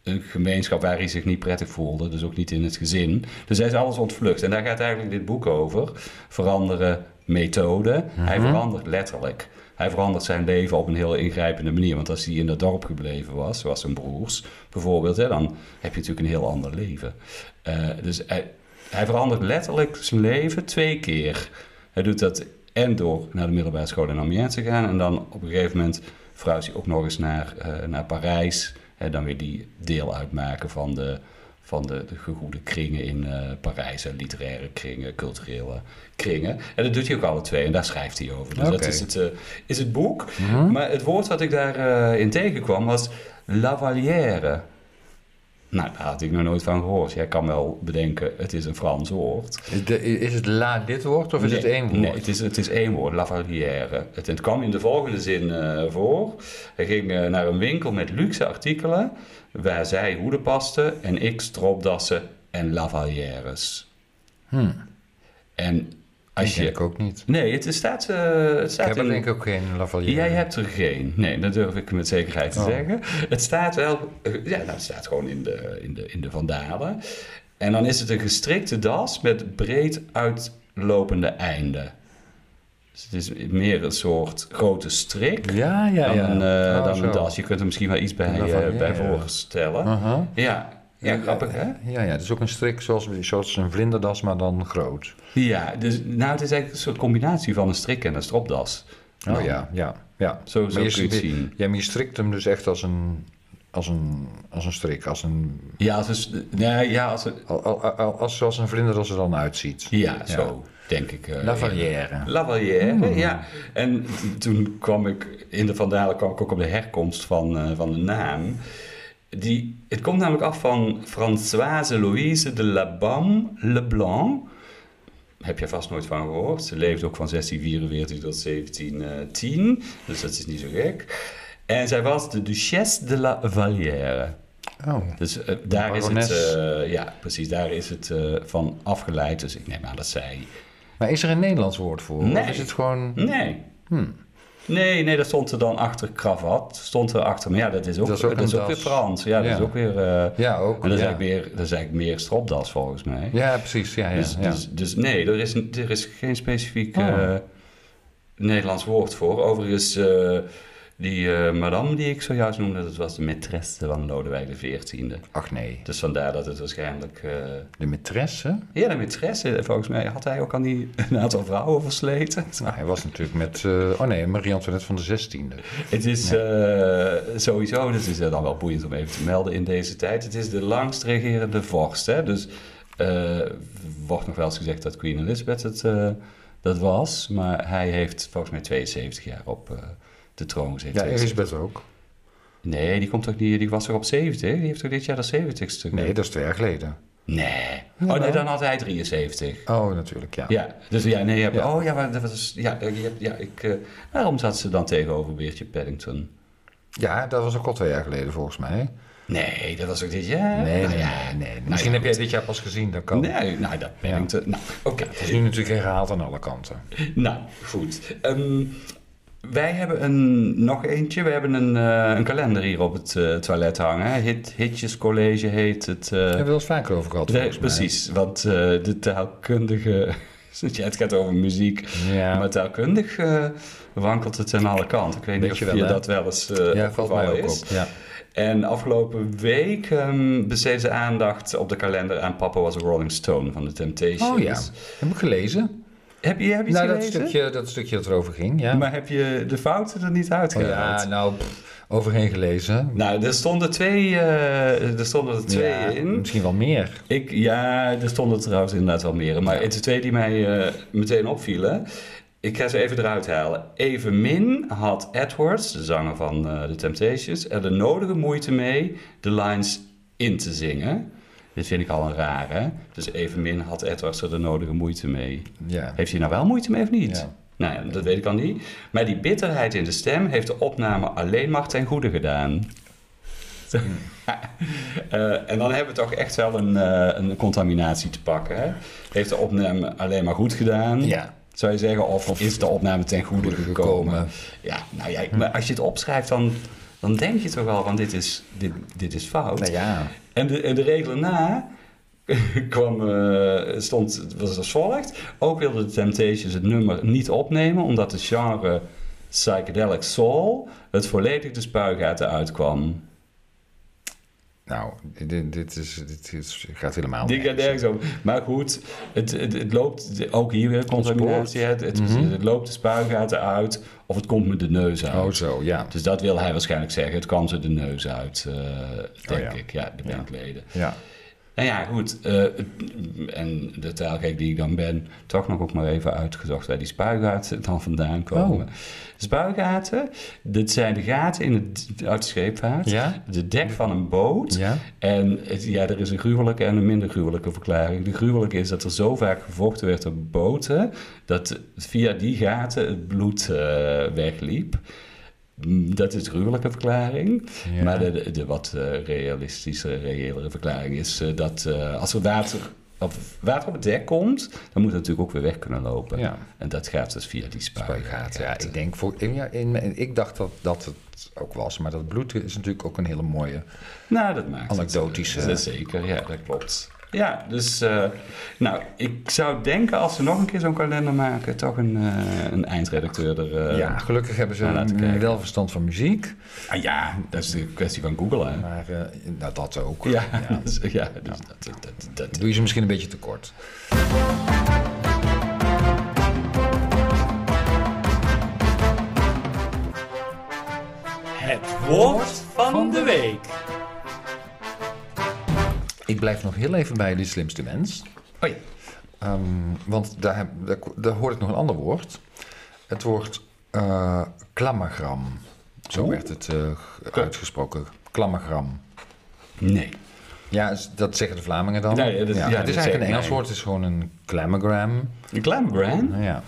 [SPEAKER 1] een gemeenschap waar hij zich niet prettig voelde, dus ook niet in het gezin. Dus hij is alles ontvlucht. En daar gaat eigenlijk dit boek over. Veranderen methode. Hij
[SPEAKER 2] Mhm.
[SPEAKER 1] verandert letterlijk. Hij verandert zijn leven op een heel ingrijpende manier. Want als hij in dat dorp gebleven was, zoals zijn broers bijvoorbeeld, hè, dan heb je natuurlijk een heel ander leven. Eh, dus hij, hij verandert letterlijk zijn leven twee keer. Hij doet dat en door naar de middelbare school in Amiens te gaan. En dan op een gegeven moment verhuist hij ook nog eens naar, eh, naar Parijs. En dan weer die deel uitmaken van de, van de, de gegoede kringen in eh, Parijs. Hè, literaire kringen, culturele kringen. En dat doet hij ook alle twee. En daar schrijft hij over. Dus dat
[SPEAKER 2] Oké.
[SPEAKER 1] is het, eh, is het boek.
[SPEAKER 2] Mhm.
[SPEAKER 1] Maar het woord wat ik daarin in tegenkwam was lavalière. Nou, daar had ik nog nooit van gehoord. Jij kan wel bedenken, het is een Frans woord.
[SPEAKER 2] Is de- is het la dit woord of is
[SPEAKER 1] Nee,
[SPEAKER 2] het één woord?
[SPEAKER 1] Nee, het is, het is één woord, lavalière. Het, het kwam in de volgende zin eh, voor. Hij ging eh, naar een winkel met luxe artikelen... waar zij hoeden paste en ik stropdassen en lavalières.
[SPEAKER 2] Hm,
[SPEAKER 1] En
[SPEAKER 2] die
[SPEAKER 1] als
[SPEAKER 2] ken
[SPEAKER 1] je...
[SPEAKER 2] Ah, ik ook niet.
[SPEAKER 1] Nee, het is- staat, eh, het
[SPEAKER 2] Ik
[SPEAKER 1] staat
[SPEAKER 2] heb er
[SPEAKER 1] in-
[SPEAKER 2] denk ik ook geen lavalier.
[SPEAKER 1] Jij hebt er geen. Nee, dat durf ik met zekerheid te
[SPEAKER 2] Oh.
[SPEAKER 1] zeggen. Het staat wel... eh, Ja, nou, het staat gewoon in de, in, de, in de vandalen. En dan is het een gestrikte das met breed uitlopende einden. Dus het is meer een soort grote strik
[SPEAKER 2] Ja, ja,
[SPEAKER 1] dan,
[SPEAKER 2] ja.
[SPEAKER 1] een, eh,
[SPEAKER 2] Oh,
[SPEAKER 1] dan
[SPEAKER 2] zo.
[SPEAKER 1] een das. Je kunt er misschien wel iets bij,
[SPEAKER 2] Daarvan,
[SPEAKER 1] eh,
[SPEAKER 2] ja,
[SPEAKER 1] bij
[SPEAKER 2] ja.
[SPEAKER 1] voorstellen.
[SPEAKER 2] Aha.
[SPEAKER 1] Ja. ja, grappig hè?
[SPEAKER 2] Ja, ja, het is ook een strik zoals, zoals een vlinderdas, maar dan groot.
[SPEAKER 1] Ja, dus, nou het is eigenlijk een soort combinatie van een strik en een stropdas.
[SPEAKER 2] Oh
[SPEAKER 1] Nou,
[SPEAKER 2] ja, ja, ja.
[SPEAKER 1] Zo, zo
[SPEAKER 2] Maar je
[SPEAKER 1] kun je het
[SPEAKER 2] ziet-
[SPEAKER 1] zien.
[SPEAKER 2] Ja, maar je strikt hem dus echt als een, als een, als een strik. Als een,
[SPEAKER 1] Ja, als een, s- nee, ja, als een,
[SPEAKER 2] al, al, al- als, zoals een vlinderdas er dan uitziet.
[SPEAKER 1] Ja, zo denk ik. eh,
[SPEAKER 2] Lavalière.
[SPEAKER 1] Lavalière, ja. En t- toen kwam ik, in de Vandalen kwam ik ook op de herkomst van, eh, van de naam. Die, het komt namelijk af van Françoise Louise de Labam Leblanc. Heb je vast nooit van gehoord. Ze leefde ook van 1644 tot 1710, dus dat is niet zo gek. En zij was de Duchesse de la Vallière.
[SPEAKER 3] Oh.
[SPEAKER 1] Dus eh, daar is het,
[SPEAKER 2] barones.
[SPEAKER 1] eh, ja, precies, daar is het eh, van afgeleid. Dus ik neem aan dat zij.
[SPEAKER 2] Maar is er een Nederlands woord voor?
[SPEAKER 1] Nee.
[SPEAKER 2] Of is het gewoon...
[SPEAKER 1] Nee.
[SPEAKER 2] Hmm.
[SPEAKER 1] Nee, nee, dat stond er dan achter kravat. Stond er achter. Maar ja, dat is ook,
[SPEAKER 2] Dat
[SPEAKER 1] dat
[SPEAKER 2] is ook
[SPEAKER 1] is
[SPEAKER 2] een
[SPEAKER 1] ook
[SPEAKER 2] das.
[SPEAKER 1] weer Frans. Ja, dat
[SPEAKER 2] Ja.
[SPEAKER 1] is ook weer. eh,
[SPEAKER 2] Ja, ook.
[SPEAKER 1] en dat, is
[SPEAKER 2] ja.
[SPEAKER 1] eigenlijk meer, dat is eigenlijk meer stropdas volgens mij.
[SPEAKER 2] ja, precies. Ja, ja,
[SPEAKER 1] dus,
[SPEAKER 2] ja.
[SPEAKER 1] Dus, dus nee, er is, er is geen specifiek
[SPEAKER 2] Oh.
[SPEAKER 1] eh, Nederlands woord voor. Overigens, eh, die eh, madame die ik zojuist noemde, dat was de maîtresse van Lodewijk XIV.
[SPEAKER 2] Ach nee,
[SPEAKER 1] Dus vandaar dat het waarschijnlijk... eh,
[SPEAKER 2] de maîtresse?
[SPEAKER 1] ja, de maîtresse, volgens mij had hij ook aan die een aantal vrouwen versleten.
[SPEAKER 2] Nou, hij was natuurlijk met... eh, oh nee, Marie-Antoinette van de 16e.
[SPEAKER 1] Het is eh, sowieso, dat is eh, dan wel boeiend om even te melden in deze tijd. Het is de langst regerende vorst. Hè? Dus eh, wordt nog wel eens gezegd dat Queen Elizabeth het eh, dat was. Maar hij heeft volgens mij 72 jaar op eh, de troon gezeten.
[SPEAKER 2] Ja, Elisabeth ook.
[SPEAKER 1] Nee, die, komt toch niet, die was toch op 70? Die heeft toch dit jaar de 70ste?
[SPEAKER 2] Nee, dat is twee jaar geleden.
[SPEAKER 1] Nee.
[SPEAKER 2] Jawel.
[SPEAKER 1] Oh nee, dan had hij 73.
[SPEAKER 2] Oh, natuurlijk, ja.
[SPEAKER 1] Ja, dus ja, nee, je hebt,
[SPEAKER 2] Ja.
[SPEAKER 1] oh ja, maar dat was, ja, je hebt, ja, ik, eh, waarom zat ze dan tegenover Beertje Paddington?
[SPEAKER 2] Ja, dat was ook al twee jaar geleden volgens mij.
[SPEAKER 1] Nee, dat was ook dit jaar.
[SPEAKER 2] Nee,
[SPEAKER 1] Nou
[SPEAKER 2] nee,
[SPEAKER 1] ja,
[SPEAKER 2] nee. nee.
[SPEAKER 1] Misschien heb
[SPEAKER 2] jij dit jaar pas gezien, dat kan.
[SPEAKER 1] Nee, nou, dat Paddington, nou, oké.
[SPEAKER 2] Het is nu natuurlijk herhaald aan alle kanten.
[SPEAKER 1] Nou, goed. Ehm, wij hebben een, nog eentje, we hebben een, eh, een kalender hier op het eh, toilet hangen. hè. Hit, Hitjes College heet het. eh,
[SPEAKER 2] Daar hebben we het vaker over gehad,
[SPEAKER 1] de-
[SPEAKER 2] volgens mij.
[SPEAKER 1] precies, want eh, de taalkundige, ja, het gaat over muziek.
[SPEAKER 2] Ja,
[SPEAKER 1] Maar taalkundig eh, wankelt het aan alle kanten. Ik weet niet
[SPEAKER 2] Weet
[SPEAKER 1] of
[SPEAKER 2] je
[SPEAKER 1] je,
[SPEAKER 2] wel, hè?
[SPEAKER 1] dat wel eens eh
[SPEAKER 2] ja valt mij
[SPEAKER 1] opgevallen
[SPEAKER 2] ook
[SPEAKER 1] is.
[SPEAKER 2] op. Ja.
[SPEAKER 1] En afgelopen week ehm besteedde ze aandacht op de kalender aan Papa was a Rolling Stone van de Temptations.
[SPEAKER 2] Oh ja, heb ik gelezen.
[SPEAKER 1] Heb je, heb je iets
[SPEAKER 2] Nou, dat
[SPEAKER 1] gelezen?
[SPEAKER 2] stukje, dat stukje dat erover ging, ja.
[SPEAKER 1] Maar heb je de fouten er niet
[SPEAKER 2] Oh
[SPEAKER 1] uitgehaald?
[SPEAKER 2] ja, nou, pff, overheen gelezen.
[SPEAKER 1] Nou, er stonden twee, eh, er stonden er twee
[SPEAKER 2] Ja,
[SPEAKER 1] in.
[SPEAKER 2] Misschien wel meer.
[SPEAKER 1] Ik, ja, er stonden er trouwens inderdaad wel meer. Maar de twee die mij eh, meteen opvielen. Ik ga ze even eruit halen. Evenmin had Edwards, de zanger van eh The Temptations, er de nodige moeite mee de lines in te zingen. Dit vind ik al een rare. Dus evenmin had Edwards er de nodige moeite mee.
[SPEAKER 2] Ja.
[SPEAKER 1] Heeft hij nou wel moeite mee of niet?
[SPEAKER 2] Ja.
[SPEAKER 1] Nou ja, dat weet ik al niet. Maar die bitterheid in de stem heeft de opname alleen maar ten goede gedaan. Eh, en dan hebben we toch echt wel een, eh, een contaminatie te pakken. Hè? Heeft de opname alleen maar goed gedaan?
[SPEAKER 2] Ja.
[SPEAKER 1] Zou je zeggen, of, is de opname ten goede
[SPEAKER 2] Goede
[SPEAKER 1] gekomen?
[SPEAKER 2] gekomen.
[SPEAKER 1] Ja, nou ja, maar als je het opschrijft, dan, dan denk je toch wel van dit is, dit, dit is fout.
[SPEAKER 2] Nou ja.
[SPEAKER 1] En de, en de regel na kwam, eh, stond, was als volgt. Ook wilde de Temptations het nummer niet opnemen, omdat het genre psychedelic soul het volledig de spuigaten uitkwam.
[SPEAKER 2] Nou, dit, dit, is, dit is, gaat helemaal
[SPEAKER 1] Dit gaat
[SPEAKER 2] nergens.
[SPEAKER 1] nergens over. Maar goed, het, het, het loopt ook hier weer contaminatie. Het, het, het loopt de spuigaten uit of het komt met de neus uit.
[SPEAKER 2] Mhm. Oh zo, ja.
[SPEAKER 1] Dus dat wil hij waarschijnlijk zeggen. Het kwam ze de neus uit, eh, denk
[SPEAKER 2] Oh, ja.
[SPEAKER 1] ik. Ja, de bankleden.
[SPEAKER 2] Ja.
[SPEAKER 1] Nou ja, goed. eh, en de taalgek die ik dan ben, toch nog ook maar even uitgezocht waar die spuigaten dan vandaan komen.
[SPEAKER 2] Oh.
[SPEAKER 1] Spuigaten, dit zijn de gaten in het, uit de scheepvaart.
[SPEAKER 2] Ja?
[SPEAKER 1] De dek van een boot.
[SPEAKER 2] Ja?
[SPEAKER 1] En het- ja, er is een gruwelijke en een minder gruwelijke verklaring. De gruwelijke is dat er zo vaak gevochten werd op boten, dat via die gaten het bloed eh, wegliep. Mm, Dat is de gruwelijke verklaring.
[SPEAKER 2] Ja.
[SPEAKER 1] Maar de, de, de wat eh, realistische, reëlere verklaring is eh, dat eh, als er water, of water op het dek komt, dan moet het natuurlijk ook weer weg kunnen lopen.
[SPEAKER 2] Ja.
[SPEAKER 1] En dat gaat dus via die
[SPEAKER 2] Spuigaten.
[SPEAKER 1] spuigaten.
[SPEAKER 2] Ja, ik denk voor, in- ja, in, mijn- ik dacht dat, dat het ook was, maar dat bloed is natuurlijk ook een hele mooie.
[SPEAKER 1] Nou, dat maakt
[SPEAKER 2] Anekdotisch,
[SPEAKER 1] het,
[SPEAKER 2] eh.
[SPEAKER 1] eh, zeker, ja, dat klopt. Ja, dus eh, nou, ik zou denken als ze nog een keer zo'n kalender maken, toch een, eh, een eindredacteur er... eh,
[SPEAKER 2] ja, gelukkig hebben ze
[SPEAKER 1] nou, laten we
[SPEAKER 2] een-
[SPEAKER 1] kijken.
[SPEAKER 2] wel verstand van muziek.
[SPEAKER 1] Ah, ja, dat is de kwestie van Google, hè?
[SPEAKER 2] Maar eh, nou, dat ook.
[SPEAKER 1] Ja, ja. dus, ja, dus dat, dat, dat,
[SPEAKER 2] Doe je ze misschien een beetje tekort.
[SPEAKER 4] Het woord van de week.
[SPEAKER 2] Ik blijf nog heel even bij de slimste mens.
[SPEAKER 1] Oh ja.
[SPEAKER 2] Ehm, want daar, heb- daar, daar hoor ik nog een ander woord. Het woord eh klammagram. Zo werd het eh, g- uitgesproken. Klammagram.
[SPEAKER 1] Nee.
[SPEAKER 2] Ja, s- dat zeggen de Vlamingen dan.
[SPEAKER 1] Nee, dat- ja,
[SPEAKER 2] het
[SPEAKER 1] dat zeggen
[SPEAKER 2] is eigenlijk een Engels
[SPEAKER 1] wij.
[SPEAKER 2] woord, het is gewoon een clamogram.
[SPEAKER 1] Een Glam Grand?
[SPEAKER 2] Nou ja.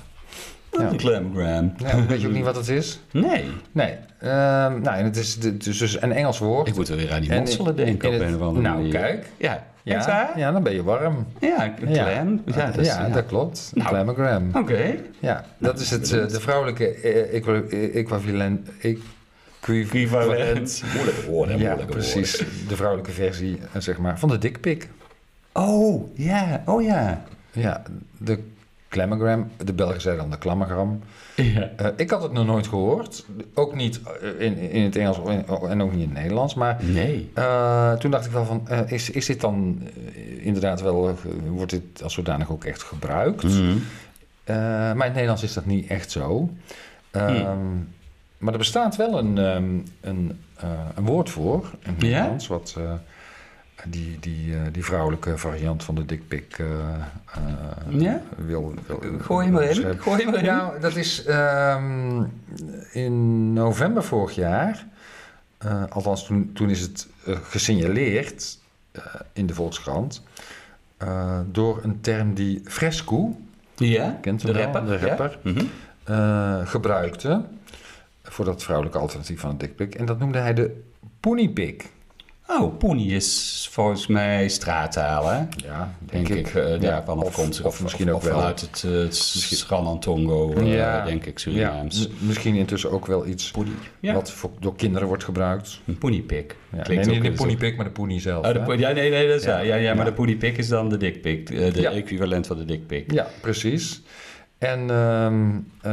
[SPEAKER 1] Wat een clamgram.
[SPEAKER 2] Ja, weet je ook niet wat het is?
[SPEAKER 1] Nee.
[SPEAKER 2] Nee. Ehm, nou, en het is, het is dus een Engels woord.
[SPEAKER 1] Ik moet er weer aan die
[SPEAKER 2] En
[SPEAKER 1] motselen
[SPEAKER 2] in-
[SPEAKER 1] denken
[SPEAKER 2] in
[SPEAKER 1] op
[SPEAKER 2] het-
[SPEAKER 1] een of andere
[SPEAKER 2] nou,
[SPEAKER 1] manier.
[SPEAKER 2] kijk.
[SPEAKER 1] Ja, ja. Echt
[SPEAKER 2] ja,
[SPEAKER 1] waar?
[SPEAKER 2] ja, dan ben je warm.
[SPEAKER 1] Ja, een clam. Ja, dat is- ja.
[SPEAKER 2] dat klopt.
[SPEAKER 1] Nou.
[SPEAKER 2] Clamogram.
[SPEAKER 1] Oké.
[SPEAKER 2] Ja, dat is het, eh, de vrouwelijke eh, equa- eh, equivalent. Equivalent.
[SPEAKER 1] Equivalent. Moeilijke woorden,
[SPEAKER 2] Ja,
[SPEAKER 1] moeilijke
[SPEAKER 2] precies.
[SPEAKER 1] woorden.
[SPEAKER 2] De vrouwelijke versie, eh, zeg maar, van de dikpik.
[SPEAKER 1] Oh, ja. Oh, ja.
[SPEAKER 2] Ja, de clamogram. De Belgen zeiden dan de klammergram.
[SPEAKER 1] Ja.
[SPEAKER 2] Eh, ik had het nog nooit gehoord. Ook niet eh, in, in het Engels en ook niet in het Nederlands. Maar
[SPEAKER 1] Nee.
[SPEAKER 2] Eh, toen dacht ik wel van, eh, is, is dit dan eh, inderdaad wel, eh, wordt dit als zodanig ook echt gebruikt?
[SPEAKER 1] Hmm.
[SPEAKER 2] Eh, maar in het Nederlands is dat niet echt zo. Ehm,
[SPEAKER 1] Hmm.
[SPEAKER 2] Maar er bestaat wel een, ehm, een, eh, een woord voor in het
[SPEAKER 1] Ja?
[SPEAKER 2] Nederlands, wat eh, die, die, eh, die vrouwelijke variant van de dikpik eh, eh,
[SPEAKER 1] Ja?
[SPEAKER 2] wil, wil-
[SPEAKER 1] Gooi hem
[SPEAKER 2] wil-
[SPEAKER 1] erin. Gooi hem erin.
[SPEAKER 2] nou, dat is ehm, in november vorig jaar. eh, althans, toen, toen is het eh, gesignaleerd eh, in de Volkskrant. eh, door een term die Fresco,
[SPEAKER 1] Ja,
[SPEAKER 2] kent u
[SPEAKER 1] de
[SPEAKER 2] wel,
[SPEAKER 1] rapper. ja.
[SPEAKER 2] de rapper
[SPEAKER 1] Mhm.
[SPEAKER 2] eh, gebruikte. voor dat vrouwelijke alternatief van een dikpik. En dat noemde hij de poeniepik.
[SPEAKER 1] Oh, pony is volgens mij straattaal, hè?
[SPEAKER 2] Ja,
[SPEAKER 1] Denk ik, eh, daarvan
[SPEAKER 2] of,
[SPEAKER 1] afkomst.
[SPEAKER 2] Of, misschien ook wel.
[SPEAKER 1] Vanuit het, eh, het Schralantongo, eh, denk ik, Surinaams.
[SPEAKER 2] Ja, m- misschien intussen ook wel iets
[SPEAKER 1] Pony. Ja,
[SPEAKER 2] wat voor- door kinderen wordt gebruikt.
[SPEAKER 1] een ponypik.
[SPEAKER 2] Ja,
[SPEAKER 1] Klinkt
[SPEAKER 2] nee,
[SPEAKER 1] ook
[SPEAKER 2] niet de
[SPEAKER 1] eens-
[SPEAKER 2] ponypik, maar de pony zelf.
[SPEAKER 1] Oh, de
[SPEAKER 2] hè?
[SPEAKER 1] po- ja, nee, nee, dat is
[SPEAKER 2] Ja.
[SPEAKER 1] ja. Ja, ja, maar
[SPEAKER 2] Ja.
[SPEAKER 1] de ponypik is dan de dikpik. eh, De
[SPEAKER 2] Ja.
[SPEAKER 1] equivalent van de dikpik.
[SPEAKER 2] Ja, precies. En ehm, eh,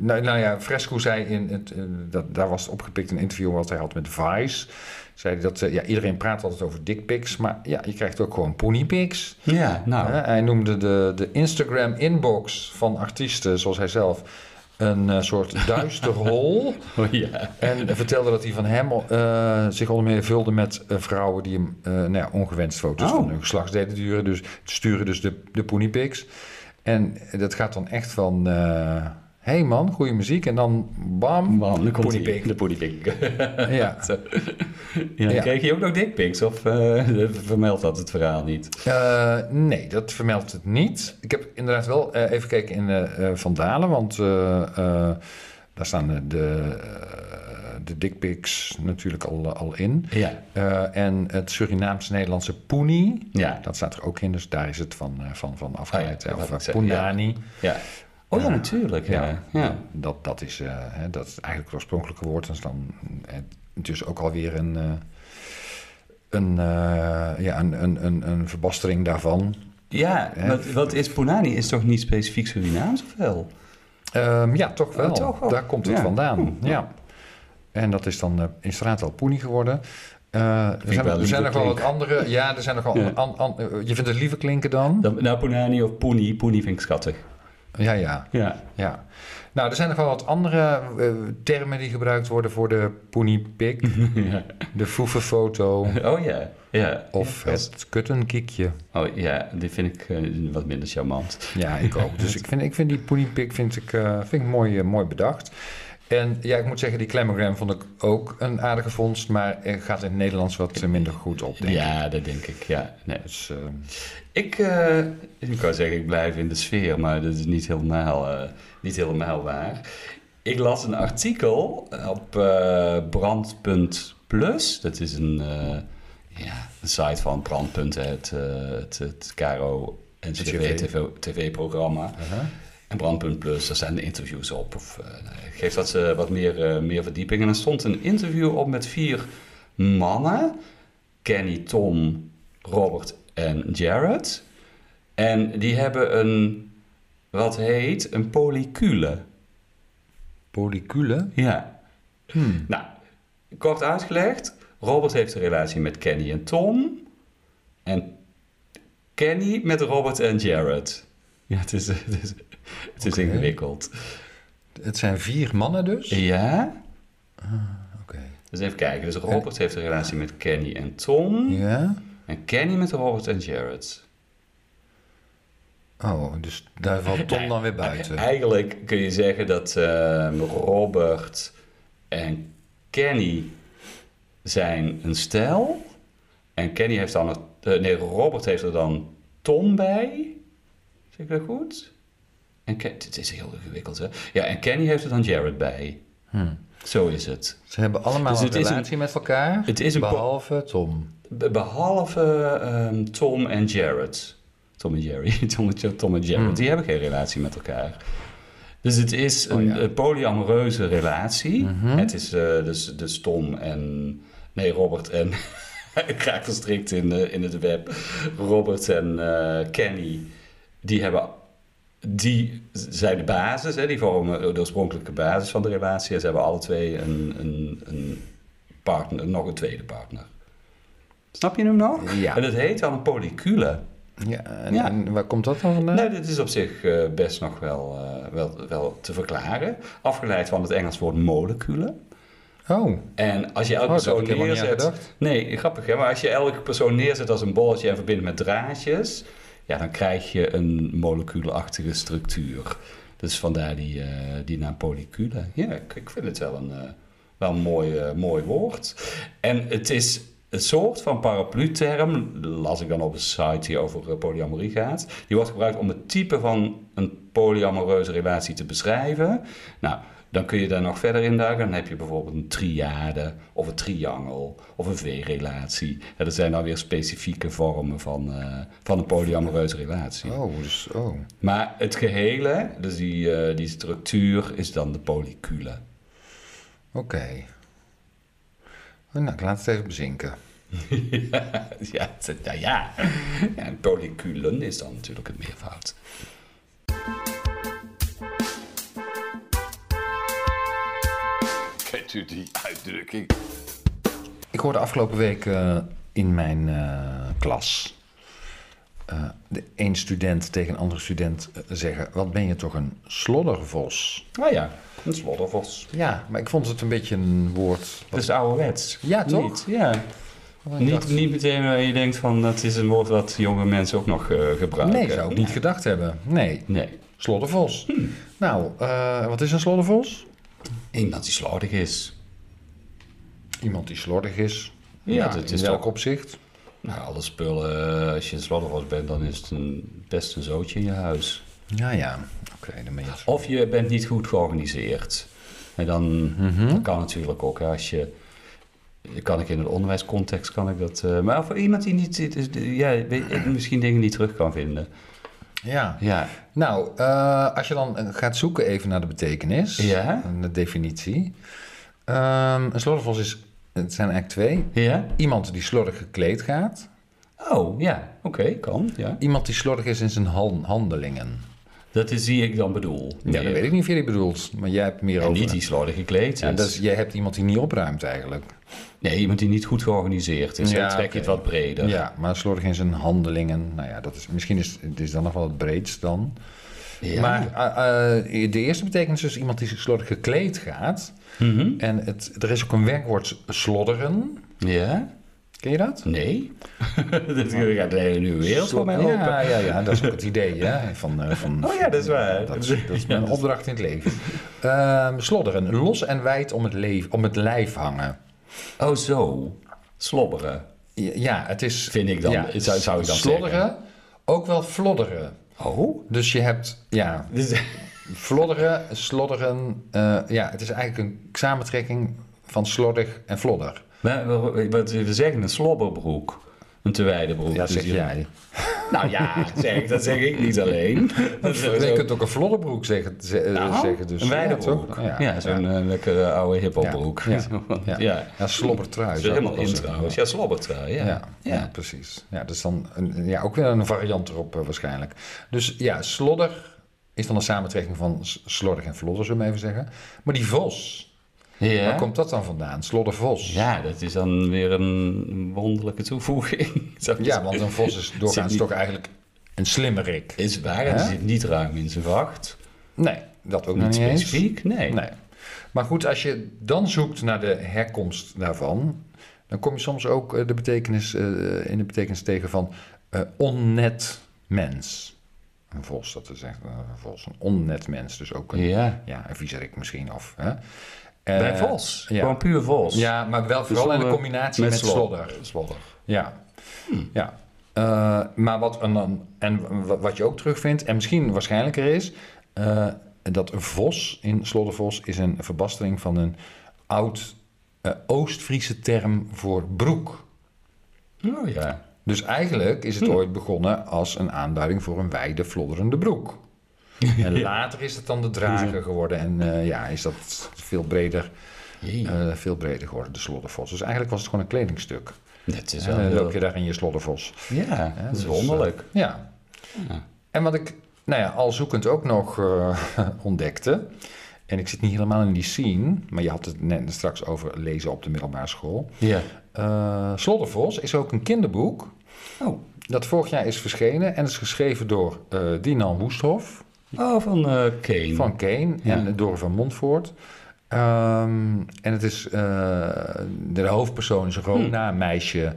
[SPEAKER 2] nou, nou ja, Fresco zei in het, eh, dat, daar was het opgepikt een interview wat hij had met Vice. Zei hij dat eh, ja, iedereen praat altijd over dickpics, maar ja, je krijgt ook gewoon ponypics.
[SPEAKER 1] Ja, nou.
[SPEAKER 2] Hè, hij noemde de, de Instagram inbox van artiesten, zoals hij zelf, een eh, soort duister hol.
[SPEAKER 1] Oh, ja.
[SPEAKER 2] En vertelde dat hij van hem eh, zich onder meer vulde met eh, vrouwen die hem eh, nou ja, ongewenst foto's
[SPEAKER 1] Oh.
[SPEAKER 2] van hun geslachtsdelen duren. Dus sturen dus de, de ponypics. En dat gaat dan echt van, eh hey man, goede muziek. En dan bam,
[SPEAKER 1] Man, dan komt
[SPEAKER 2] ponypik.
[SPEAKER 1] de ponypik.
[SPEAKER 2] Ja.
[SPEAKER 1] Ja,
[SPEAKER 2] Ja.
[SPEAKER 1] Kreeg je ook nog dikpiks? Of eh, vermeldt dat het verhaal niet?
[SPEAKER 2] Eh, nee, dat vermeldt het niet. Ik heb inderdaad wel eh, even gekeken in eh, eh, Van Dalen, want eh, eh, daar staan de, de, eh, de dickpics natuurlijk al, al in.
[SPEAKER 1] Ja.
[SPEAKER 2] Eh, en het Surinaams-Nederlandse poenie,
[SPEAKER 1] Ja.
[SPEAKER 2] Dat staat er ook in, dus daar is het van, eh, van, van
[SPEAKER 1] Ah
[SPEAKER 2] afgeleid.
[SPEAKER 1] ja,
[SPEAKER 2] hè,
[SPEAKER 1] dat
[SPEAKER 2] of
[SPEAKER 1] wou ik
[SPEAKER 2] eh,
[SPEAKER 1] zeggen, ja.
[SPEAKER 2] Poendani.
[SPEAKER 1] ja. Oh ja, natuurlijk. Ja. ja.
[SPEAKER 2] Dat, dat, is, eh, hè, dat is eigenlijk het oorspronkelijke woord. Dus dan eh, dus ook alweer een, eh, een, eh, ja, een, een, een, een verbastering daarvan.
[SPEAKER 1] Ja,
[SPEAKER 2] Hè?
[SPEAKER 1] wat, wat is Punani? Is toch niet specifiek Surinaams of wel?
[SPEAKER 2] Ehm, ja, toch wel.
[SPEAKER 1] Oh, toch wel.
[SPEAKER 2] Daar komt het
[SPEAKER 1] Ja.
[SPEAKER 2] vandaan. Ja. En dat is dan eh, in straat al Poenie geworden. Eh, er
[SPEAKER 1] ik
[SPEAKER 2] zijn,
[SPEAKER 1] wel
[SPEAKER 2] er
[SPEAKER 1] liever
[SPEAKER 2] zijn nog wel wat
[SPEAKER 1] klinken.
[SPEAKER 2] andere. Ja, er zijn nog wel.
[SPEAKER 1] Ja.
[SPEAKER 2] an- an- eh, je vindt het liever klinken dan?
[SPEAKER 1] Dan, nou, Punani of Puni. Puni vind ik schattig.
[SPEAKER 2] Ja, ja.
[SPEAKER 1] Ja.
[SPEAKER 2] Ja. Nou, er zijn nog wel wat andere eh, termen die gebruikt worden voor de poeniepik. De foefenfoto
[SPEAKER 1] Oh ja. ja.
[SPEAKER 2] of het kuttenkiekje.
[SPEAKER 1] Oh ja, die vind ik eh, wat minder charmant.
[SPEAKER 2] Ja, ik ook. Dus ik vind, ik vind die poeniepik vind ik, eh, vind ik mooi, eh, mooi bedacht. En ja, ik moet zeggen, die clamogram vond ik ook een aardige vondst, maar eh, gaat in het Nederlands wat eh, minder goed op, denk ik.
[SPEAKER 1] Ja, dat denk ik. Ja, nee.
[SPEAKER 2] Dus, eh,
[SPEAKER 1] Ik, eh, ik wou zeggen, ik blijf in de sfeer, maar dat is niet helemaal, eh, niet helemaal waar. Ik las een artikel op eh, brand.plus. Dat is een, eh, ja, een site van Brandpunt, hè, het, eh, het, het KRO en
[SPEAKER 2] Het CV.
[SPEAKER 1] tv-programma.
[SPEAKER 2] aha.
[SPEAKER 1] En Brandpunt Plus, daar zijn interviews op. Of, eh, nou, geeft dat ze wat meer, eh, meer verdieping. En er stond een interview op met vier mannen. Kenny, Tom, Robert en Jared. En die hebben een, wat heet, een polycule.
[SPEAKER 2] Polycule?
[SPEAKER 1] Ja. Nou, kort uitgelegd. Robert heeft een relatie met Kenny en Tom. En Kenny met Robert en Jared. Ja, het is, het is, het is
[SPEAKER 2] Oké.
[SPEAKER 1] ingewikkeld.
[SPEAKER 2] Het zijn vier mannen dus?
[SPEAKER 1] Ja,
[SPEAKER 2] Oké.
[SPEAKER 1] dus even kijken. Dus Robert heeft een relatie met Kenny en Tom.
[SPEAKER 2] Ja?
[SPEAKER 1] En Kenny met Robert en Jared.
[SPEAKER 2] Oh, dus daar valt Tom dan weer buiten.
[SPEAKER 1] E-, Eigenlijk kun je zeggen dat ehm, Robert en Kenny zijn een stijl. En Kenny heeft dan... een- eh, nee, Robert heeft er dan Tom bij. Zeg ik dat goed? En Ken- dit is heel ingewikkeld, hè? Ja, en Kenny heeft er dan Jared bij.
[SPEAKER 2] Hm.
[SPEAKER 1] Zo is het.
[SPEAKER 2] Ze hebben allemaal
[SPEAKER 1] Dus
[SPEAKER 2] een
[SPEAKER 1] het is een-
[SPEAKER 2] relatie met elkaar,
[SPEAKER 1] het is een po-
[SPEAKER 2] behalve Tom.
[SPEAKER 1] Be- behalve ehm, Tom en Jared. Tom en Jerry. Tom en, Tom en Jared. Die hebben geen relatie met elkaar. Dus het is een, eh, polyamoreuze relatie. Het is eh, dus, dus Tom en... Nee, Robert en... ik raak verstrikt in, eh, in het web. Robert en eh, Kenny, die hebben... Die zijn de basis, hè, die vormen de oorspronkelijke basis van de relatie. En ze hebben alle twee een, een, een partner, nog een tweede partner. Snap je hem nou?
[SPEAKER 2] Ja.
[SPEAKER 1] En dat heet dan een polycule.
[SPEAKER 2] Ja, en,
[SPEAKER 1] Ja.
[SPEAKER 2] en waar komt dat dan vandaan?
[SPEAKER 1] Nee, dit is op zich eh, best nog wel, eh, wel, wel te verklaren. Afgeleid van het Engels woord molecule.
[SPEAKER 2] Oh,
[SPEAKER 1] En als je elke
[SPEAKER 2] Oh, dat
[SPEAKER 1] persoon
[SPEAKER 2] had ik helemaal niet aan
[SPEAKER 1] neerzet. Nee, grappig hè, maar als je elke persoon neerzet als een bolletje en verbindt met draadjes. Ja, dan krijg je een moleculenachtige structuur. Dus vandaar die, eh, die naam polycule. Ja, ik, ik vind het wel een, eh, wel een mooi, eh, mooi woord. En het is een soort van paraplu-term, las ik dan op een site die over eh, polyamorie gaat. Die wordt gebruikt om het type van een polyamoreuze relatie te beschrijven. Nou, dan kun je daar nog verder in duiken. Dan heb je bijvoorbeeld een triade of een triangel of een V-relatie. En dat zijn dan weer specifieke vormen van, eh, van een polyamoreuze relatie.
[SPEAKER 2] oh, dus, oh.
[SPEAKER 1] Maar het gehele, dus die, eh, die structuur, is dan de polycule.
[SPEAKER 2] Oké. Nou, ik laat het even bezinken.
[SPEAKER 1] ja, het- ja, ja. ja, en polyculen is dan natuurlijk het meervoud.
[SPEAKER 5] Kent u die uitdrukking?
[SPEAKER 2] Ik hoorde afgelopen week eh, in mijn eh, klas eh, de een student tegen een andere student eh, zeggen: Wat ben je toch een sloddervos?
[SPEAKER 1] Nou ja, een sloddervos.
[SPEAKER 2] Ja, maar ik vond het een beetje een woord.
[SPEAKER 1] Dat is ouderwets.
[SPEAKER 2] Ja, toch?
[SPEAKER 1] Niet, ja.
[SPEAKER 2] wat ik
[SPEAKER 1] Niet,
[SPEAKER 2] dacht,
[SPEAKER 1] niet meteen waar je denkt van dat is een woord wat jonge mensen ook nog eh, gebruiken.
[SPEAKER 2] nee, zou ik niet gedacht hebben. Nee,
[SPEAKER 1] Nee.
[SPEAKER 2] sloddervos.
[SPEAKER 1] Hm.
[SPEAKER 2] Nou, eh, wat is een sloddervos?
[SPEAKER 1] Iemand die slordig is.
[SPEAKER 2] Iemand die slordig is.
[SPEAKER 1] Ja, dat
[SPEAKER 2] in
[SPEAKER 1] is
[SPEAKER 2] welk
[SPEAKER 1] toch-
[SPEAKER 2] opzicht?
[SPEAKER 1] Nou, alle spullen, eh, als je een sloddervos bent, dan is het een, best een zootje in je huis.
[SPEAKER 2] Ja, ja. Oké, dan ben je het.
[SPEAKER 1] Of je bent niet goed georganiseerd. En dan
[SPEAKER 2] Mhm.
[SPEAKER 1] dat kan natuurlijk ook hè, als je. Kan ik in een onderwijscontext kan ik dat. eh, maar voor iemand die niet. die- die- die- Ja, weet- misschien dingen niet terug kan vinden.
[SPEAKER 2] Ja.
[SPEAKER 1] Ja.
[SPEAKER 2] Nou, eh, als je dan eh, gaat zoeken even naar de betekenis,
[SPEAKER 1] Ja.
[SPEAKER 2] en de definitie. Ehm, een slordigvos is, het zijn eigenlijk twee.
[SPEAKER 1] Ja?
[SPEAKER 2] Iemand die slordig gekleed gaat.
[SPEAKER 1] Oh, ja. Oké, kan. Ja.
[SPEAKER 2] Iemand die slordig is in zijn han- handelingen.
[SPEAKER 1] Dat is die ik dan bedoel.
[SPEAKER 2] Ja, dat
[SPEAKER 1] Nee.
[SPEAKER 2] weet ik niet of je die bedoelt, maar jij hebt meer
[SPEAKER 1] En
[SPEAKER 2] over.
[SPEAKER 1] niet die slordig gekleed is.
[SPEAKER 2] Ja, dat is- jij hebt iemand die niet opruimt eigenlijk.
[SPEAKER 1] Nee, iemand die niet goed georganiseerd is.
[SPEAKER 2] Ja,
[SPEAKER 1] dan trek je het
[SPEAKER 2] oké.
[SPEAKER 1] wat breder.
[SPEAKER 2] Ja, maar slordig in zijn handelingen. Nou ja, dat is, misschien is het is dan nog wel het breedst dan.
[SPEAKER 1] Ja.
[SPEAKER 2] Maar eh, eh, de eerste betekenis is iemand die slordig gekleed gaat.
[SPEAKER 1] Mhm.
[SPEAKER 2] En het, er is ook een werkwoord slodderen.
[SPEAKER 1] Ja?
[SPEAKER 2] Ken je dat?
[SPEAKER 1] Nee? Dit gaat een hele nieuwe wereld voor mij open.
[SPEAKER 2] ja, ja, ja, dat is ook het idee. Hè? Van, eh, van,
[SPEAKER 1] Oh ja, dat is waar.
[SPEAKER 2] Dat is, dat is mijn opdracht in het leven. Ehm, slodderen, los en wijd om het, leef, om het lijf hangen.
[SPEAKER 1] Oh, zo. Slobberen.
[SPEAKER 2] Ja, het is...
[SPEAKER 1] Vind ik dan,
[SPEAKER 2] ja,
[SPEAKER 1] zou- zou ik dan
[SPEAKER 2] slodderen,
[SPEAKER 1] zeggen.
[SPEAKER 2] ook wel flodderen.
[SPEAKER 1] Oh?
[SPEAKER 2] Dus je hebt, ja,
[SPEAKER 1] Dus,
[SPEAKER 2] flodderen, slodderen. eh, ja, het is eigenlijk een samentrekking van slordig en flodder.
[SPEAKER 1] maar, we- wat we zeggen, een slobberbroek. Een te wijde broek.
[SPEAKER 2] Ja,
[SPEAKER 1] Dus
[SPEAKER 2] zeg
[SPEAKER 1] je-
[SPEAKER 2] jij.
[SPEAKER 1] Nou ja, zeg, ik- dat zeg ik niet alleen. Dat is
[SPEAKER 2] Je
[SPEAKER 1] sowieso-
[SPEAKER 2] kunt ook een flodderbroek zeggen, ze- eh,
[SPEAKER 1] Nou,
[SPEAKER 2] zeggen dus.
[SPEAKER 1] een wijde
[SPEAKER 2] Ja, toch?
[SPEAKER 1] broek. Ja, zo'n eh, lekkere oude hippoproek.
[SPEAKER 2] Ja,
[SPEAKER 1] Ja.
[SPEAKER 2] ja.
[SPEAKER 1] ja.
[SPEAKER 2] Ja, slobbertrui.
[SPEAKER 1] Dat is
[SPEAKER 2] zou ik
[SPEAKER 1] helemaal
[SPEAKER 2] wel
[SPEAKER 1] in
[SPEAKER 2] zeggen.
[SPEAKER 1] trouwens. Ja, slobbertrui. Ja.
[SPEAKER 2] Ja, ja. precies. Ja, dus dan een, ja, ook weer een variant erop eh, waarschijnlijk. Dus ja, slodder is dan een samentrekking van s- slordig en vlodder, zullen we even zeggen. Maar die vos,
[SPEAKER 1] Ja.
[SPEAKER 2] waar komt dat dan vandaan? Sloddervos.
[SPEAKER 1] Ja, dat is dan weer een wonderlijke toevoeging. Zou ik
[SPEAKER 2] ja,
[SPEAKER 1] zeggen.
[SPEAKER 2] want een vos is doorgaans
[SPEAKER 1] niet-
[SPEAKER 2] toch eigenlijk een slimmerik.
[SPEAKER 1] Is waar, en
[SPEAKER 2] Hè?
[SPEAKER 1] zit niet ruim in zijn vacht.
[SPEAKER 2] Nee, dat ook nog
[SPEAKER 1] Niet
[SPEAKER 2] niet eens.
[SPEAKER 1] specifiek, nee.
[SPEAKER 2] Nee. Maar goed, als je dan zoekt naar de herkomst daarvan, dan kom je soms ook eh, de betekenis, eh, in de betekenis tegen van eh, onnet mens. Een vos, dat is echt eh, een vos. Een onnet mens, dus ook een, ja.
[SPEAKER 1] Ja.
[SPEAKER 2] een viezerik misschien. Of, hè?
[SPEAKER 1] Bij
[SPEAKER 2] Eh,
[SPEAKER 1] vos.
[SPEAKER 2] ja.
[SPEAKER 1] Gewoon puur vos.
[SPEAKER 2] Ja, maar wel vooral in de
[SPEAKER 1] Zonder-
[SPEAKER 2] combinatie met, slodder.
[SPEAKER 1] slodder.
[SPEAKER 2] Ja.
[SPEAKER 1] Hmm.
[SPEAKER 2] ja. Eh, maar wat, en, dan- en wa- wat je ook terugvindt, en misschien waarschijnlijker is, eh, dat vos in Sloddervos is een verbastering van een oud eh, Oost-Friese term voor broek.
[SPEAKER 1] Oh ja.
[SPEAKER 2] Dus eigenlijk is
[SPEAKER 1] Hmm.
[SPEAKER 2] het ooit begonnen als een aanduiding voor een wijde, flodderende broek. En later is het dan de drager geworden en eh, ja, is dat veel breder,
[SPEAKER 1] Jee.
[SPEAKER 2] eh, veel breder geworden, de sloddervos. Dus eigenlijk was het gewoon een kledingstuk.
[SPEAKER 1] dat is wel
[SPEAKER 2] En dan
[SPEAKER 1] heel-
[SPEAKER 2] loop je daar in je sloddervos.
[SPEAKER 1] Ja, dat is
[SPEAKER 2] dus,
[SPEAKER 1] wonderlijk.
[SPEAKER 2] Ja. En wat ik, nou ja, al zoekend ook nog eh, ontdekte. En ik zit niet helemaal in die scene, maar je had het net straks over lezen op de middelbare school.
[SPEAKER 1] Ja.
[SPEAKER 2] Eh Sloddervos is ook een kinderboek.
[SPEAKER 1] Oh.
[SPEAKER 2] Dat vorig jaar is verschenen en is geschreven door eh, Dinan Woesthof
[SPEAKER 1] Oh, van eh Kane.
[SPEAKER 2] van Kane
[SPEAKER 1] Ja.
[SPEAKER 2] en Dore van Montvoort. Ehm, en het is, eh, de hoofdpersoon is een Rona,
[SPEAKER 1] Hm.
[SPEAKER 2] een meisje.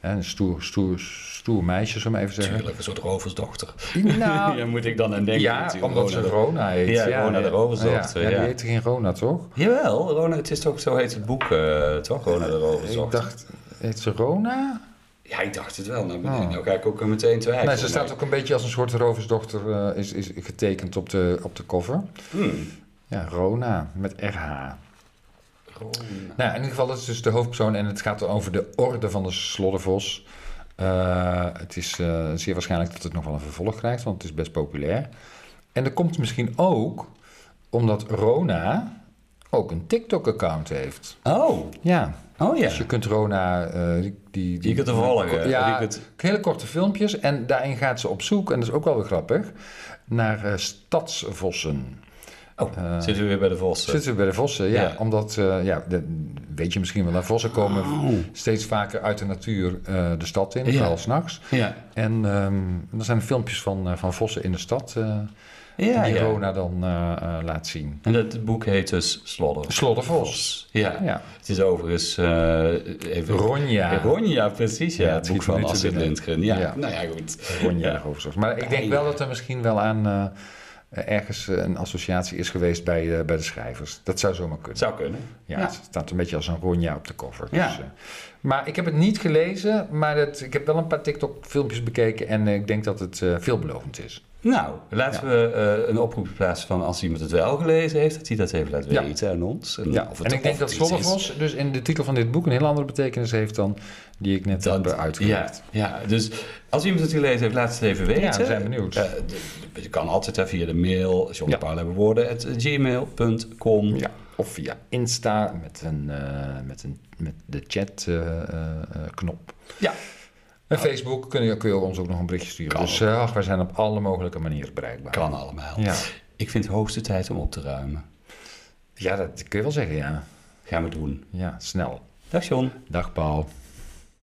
[SPEAKER 2] hè, Een stoer, stoer, stoer meisje, zou ik maar even zeggen.
[SPEAKER 1] Tuurlijk, een soort roversdochter.
[SPEAKER 2] Nou,
[SPEAKER 1] Daar moet ik dan aan denken.
[SPEAKER 2] ja,
[SPEAKER 1] natuurlijk.
[SPEAKER 2] omdat ze Rona heet.
[SPEAKER 1] Ja, Rona de Roversdochter,
[SPEAKER 2] Ja,
[SPEAKER 1] ja.
[SPEAKER 2] die heette geen Rona, toch?
[SPEAKER 1] Jawel, Rona, het is toch, zo heet het boek, eh, toch? Rona de roversdochter.
[SPEAKER 2] Ik dacht, heet ze Rona?
[SPEAKER 1] Ja, ik dacht het wel. Nou, ben ik- nou ga ik ook eh, meteen twijfelen.
[SPEAKER 2] Oh. nee, ze staat
[SPEAKER 1] maar-
[SPEAKER 2] ook een beetje als een soort roversdochter eh, is, is getekend op de, op de cover.
[SPEAKER 1] Hmm.
[SPEAKER 2] Ja, Rona, met RH.
[SPEAKER 1] Rona.
[SPEAKER 2] Nou, in ieder geval, dat is dus de hoofdpersoon en het gaat over de orde van de Sloddervos. Eh, het is eh, zeer waarschijnlijk dat het nog wel een vervolg krijgt, want het is best populair. En dat komt misschien ook omdat Rona ook een TikTok-account heeft.
[SPEAKER 1] Oh,
[SPEAKER 2] Ja,
[SPEAKER 1] oh ja.
[SPEAKER 2] dus je kunt Rona... eh, die, die,
[SPEAKER 1] Je kunt er volgen. eh,
[SPEAKER 2] Ja,
[SPEAKER 1] Je kunt-
[SPEAKER 2] hele korte filmpjes. En daarin gaat ze op zoek, en dat is ook wel weer grappig, naar eh, stadsvossen.
[SPEAKER 1] Oh,
[SPEAKER 2] Eh.
[SPEAKER 1] zitten we weer bij de vossen.
[SPEAKER 2] Zitten we bij de vossen, ja.
[SPEAKER 1] Ja.
[SPEAKER 2] Omdat, eh, ja, de- weet je misschien wel, dat vossen komen steeds vaker uit de natuur eh, de stad in,
[SPEAKER 1] Ja.
[SPEAKER 2] vooral s'nachts.
[SPEAKER 1] Ja.
[SPEAKER 2] En ehm er zijn filmpjes van, eh, van vossen in de stad eh,
[SPEAKER 1] Ja,
[SPEAKER 2] die
[SPEAKER 1] ja.
[SPEAKER 2] Rona dan eh, eh, laat zien.
[SPEAKER 1] En dat boek heet dus Slodder.
[SPEAKER 2] Sloddervos.
[SPEAKER 1] Ja.
[SPEAKER 2] Ja.
[SPEAKER 1] Het is overigens... eh even...
[SPEAKER 2] Ronja.
[SPEAKER 1] Ronja, precies. Ja,
[SPEAKER 2] Ja,
[SPEAKER 1] het boek
[SPEAKER 2] schiet me
[SPEAKER 1] van
[SPEAKER 2] nu te
[SPEAKER 1] Astrid
[SPEAKER 2] binnen.
[SPEAKER 1] Lindgren. Ja.
[SPEAKER 2] Ja.
[SPEAKER 1] nou ja, goed.
[SPEAKER 2] Ronja
[SPEAKER 1] Ja.
[SPEAKER 2] Roversdorf. Maar ik denk wel dat er misschien wel aan eh, ergens eh, een associatie is geweest bij, eh, bij de schrijvers. Dat zou zomaar kunnen.
[SPEAKER 1] Zou kunnen.
[SPEAKER 2] Ja, het staat een beetje als een Ronja op de cover.
[SPEAKER 1] Ja.
[SPEAKER 2] eh, maar ik heb het niet gelezen, maar het, ik heb wel een paar TikTok-filmpjes bekeken en eh, ik denk dat het eh, veelbelovend is.
[SPEAKER 1] Nou, laten we eh, een oproep plaatsen van als iemand het wel gelezen heeft, dat hij dat even laat
[SPEAKER 2] Ja.
[SPEAKER 1] weten aan ons. En, of het-
[SPEAKER 2] en ik denk
[SPEAKER 1] of
[SPEAKER 2] dat
[SPEAKER 1] het iets is.
[SPEAKER 2] Sloddervos dus in de titel van dit boek een heel andere betekenis heeft dan die ik net heb eh,
[SPEAKER 1] ja,
[SPEAKER 2] uitgelegd.
[SPEAKER 1] ja, dus als iemand het gelezen heeft, laat het even weten.
[SPEAKER 2] we zijn benieuwd.
[SPEAKER 1] Eh, d- je kan altijd hè, via de mail, John
[SPEAKER 2] Ja.
[SPEAKER 1] Paul hebben woorden, eh, at gmail.com.
[SPEAKER 2] Ja, of via Insta met, een, eh, met, een, met de eh, chat-knop.
[SPEAKER 1] Ja.
[SPEAKER 2] en Facebook kun je, kun je ons ook nog een berichtje sturen.
[SPEAKER 1] Kan
[SPEAKER 2] Dus eh, ach, wij zijn op alle mogelijke manieren bereikbaar.
[SPEAKER 1] Kan allemaal.
[SPEAKER 2] Ja.
[SPEAKER 1] Ik vind het hoogste tijd om op te ruimen.
[SPEAKER 2] Ja, dat kun je wel zeggen, ja.
[SPEAKER 1] Gaan we doen.
[SPEAKER 2] Ja, snel.
[SPEAKER 1] Dag John.
[SPEAKER 2] Dag Paul.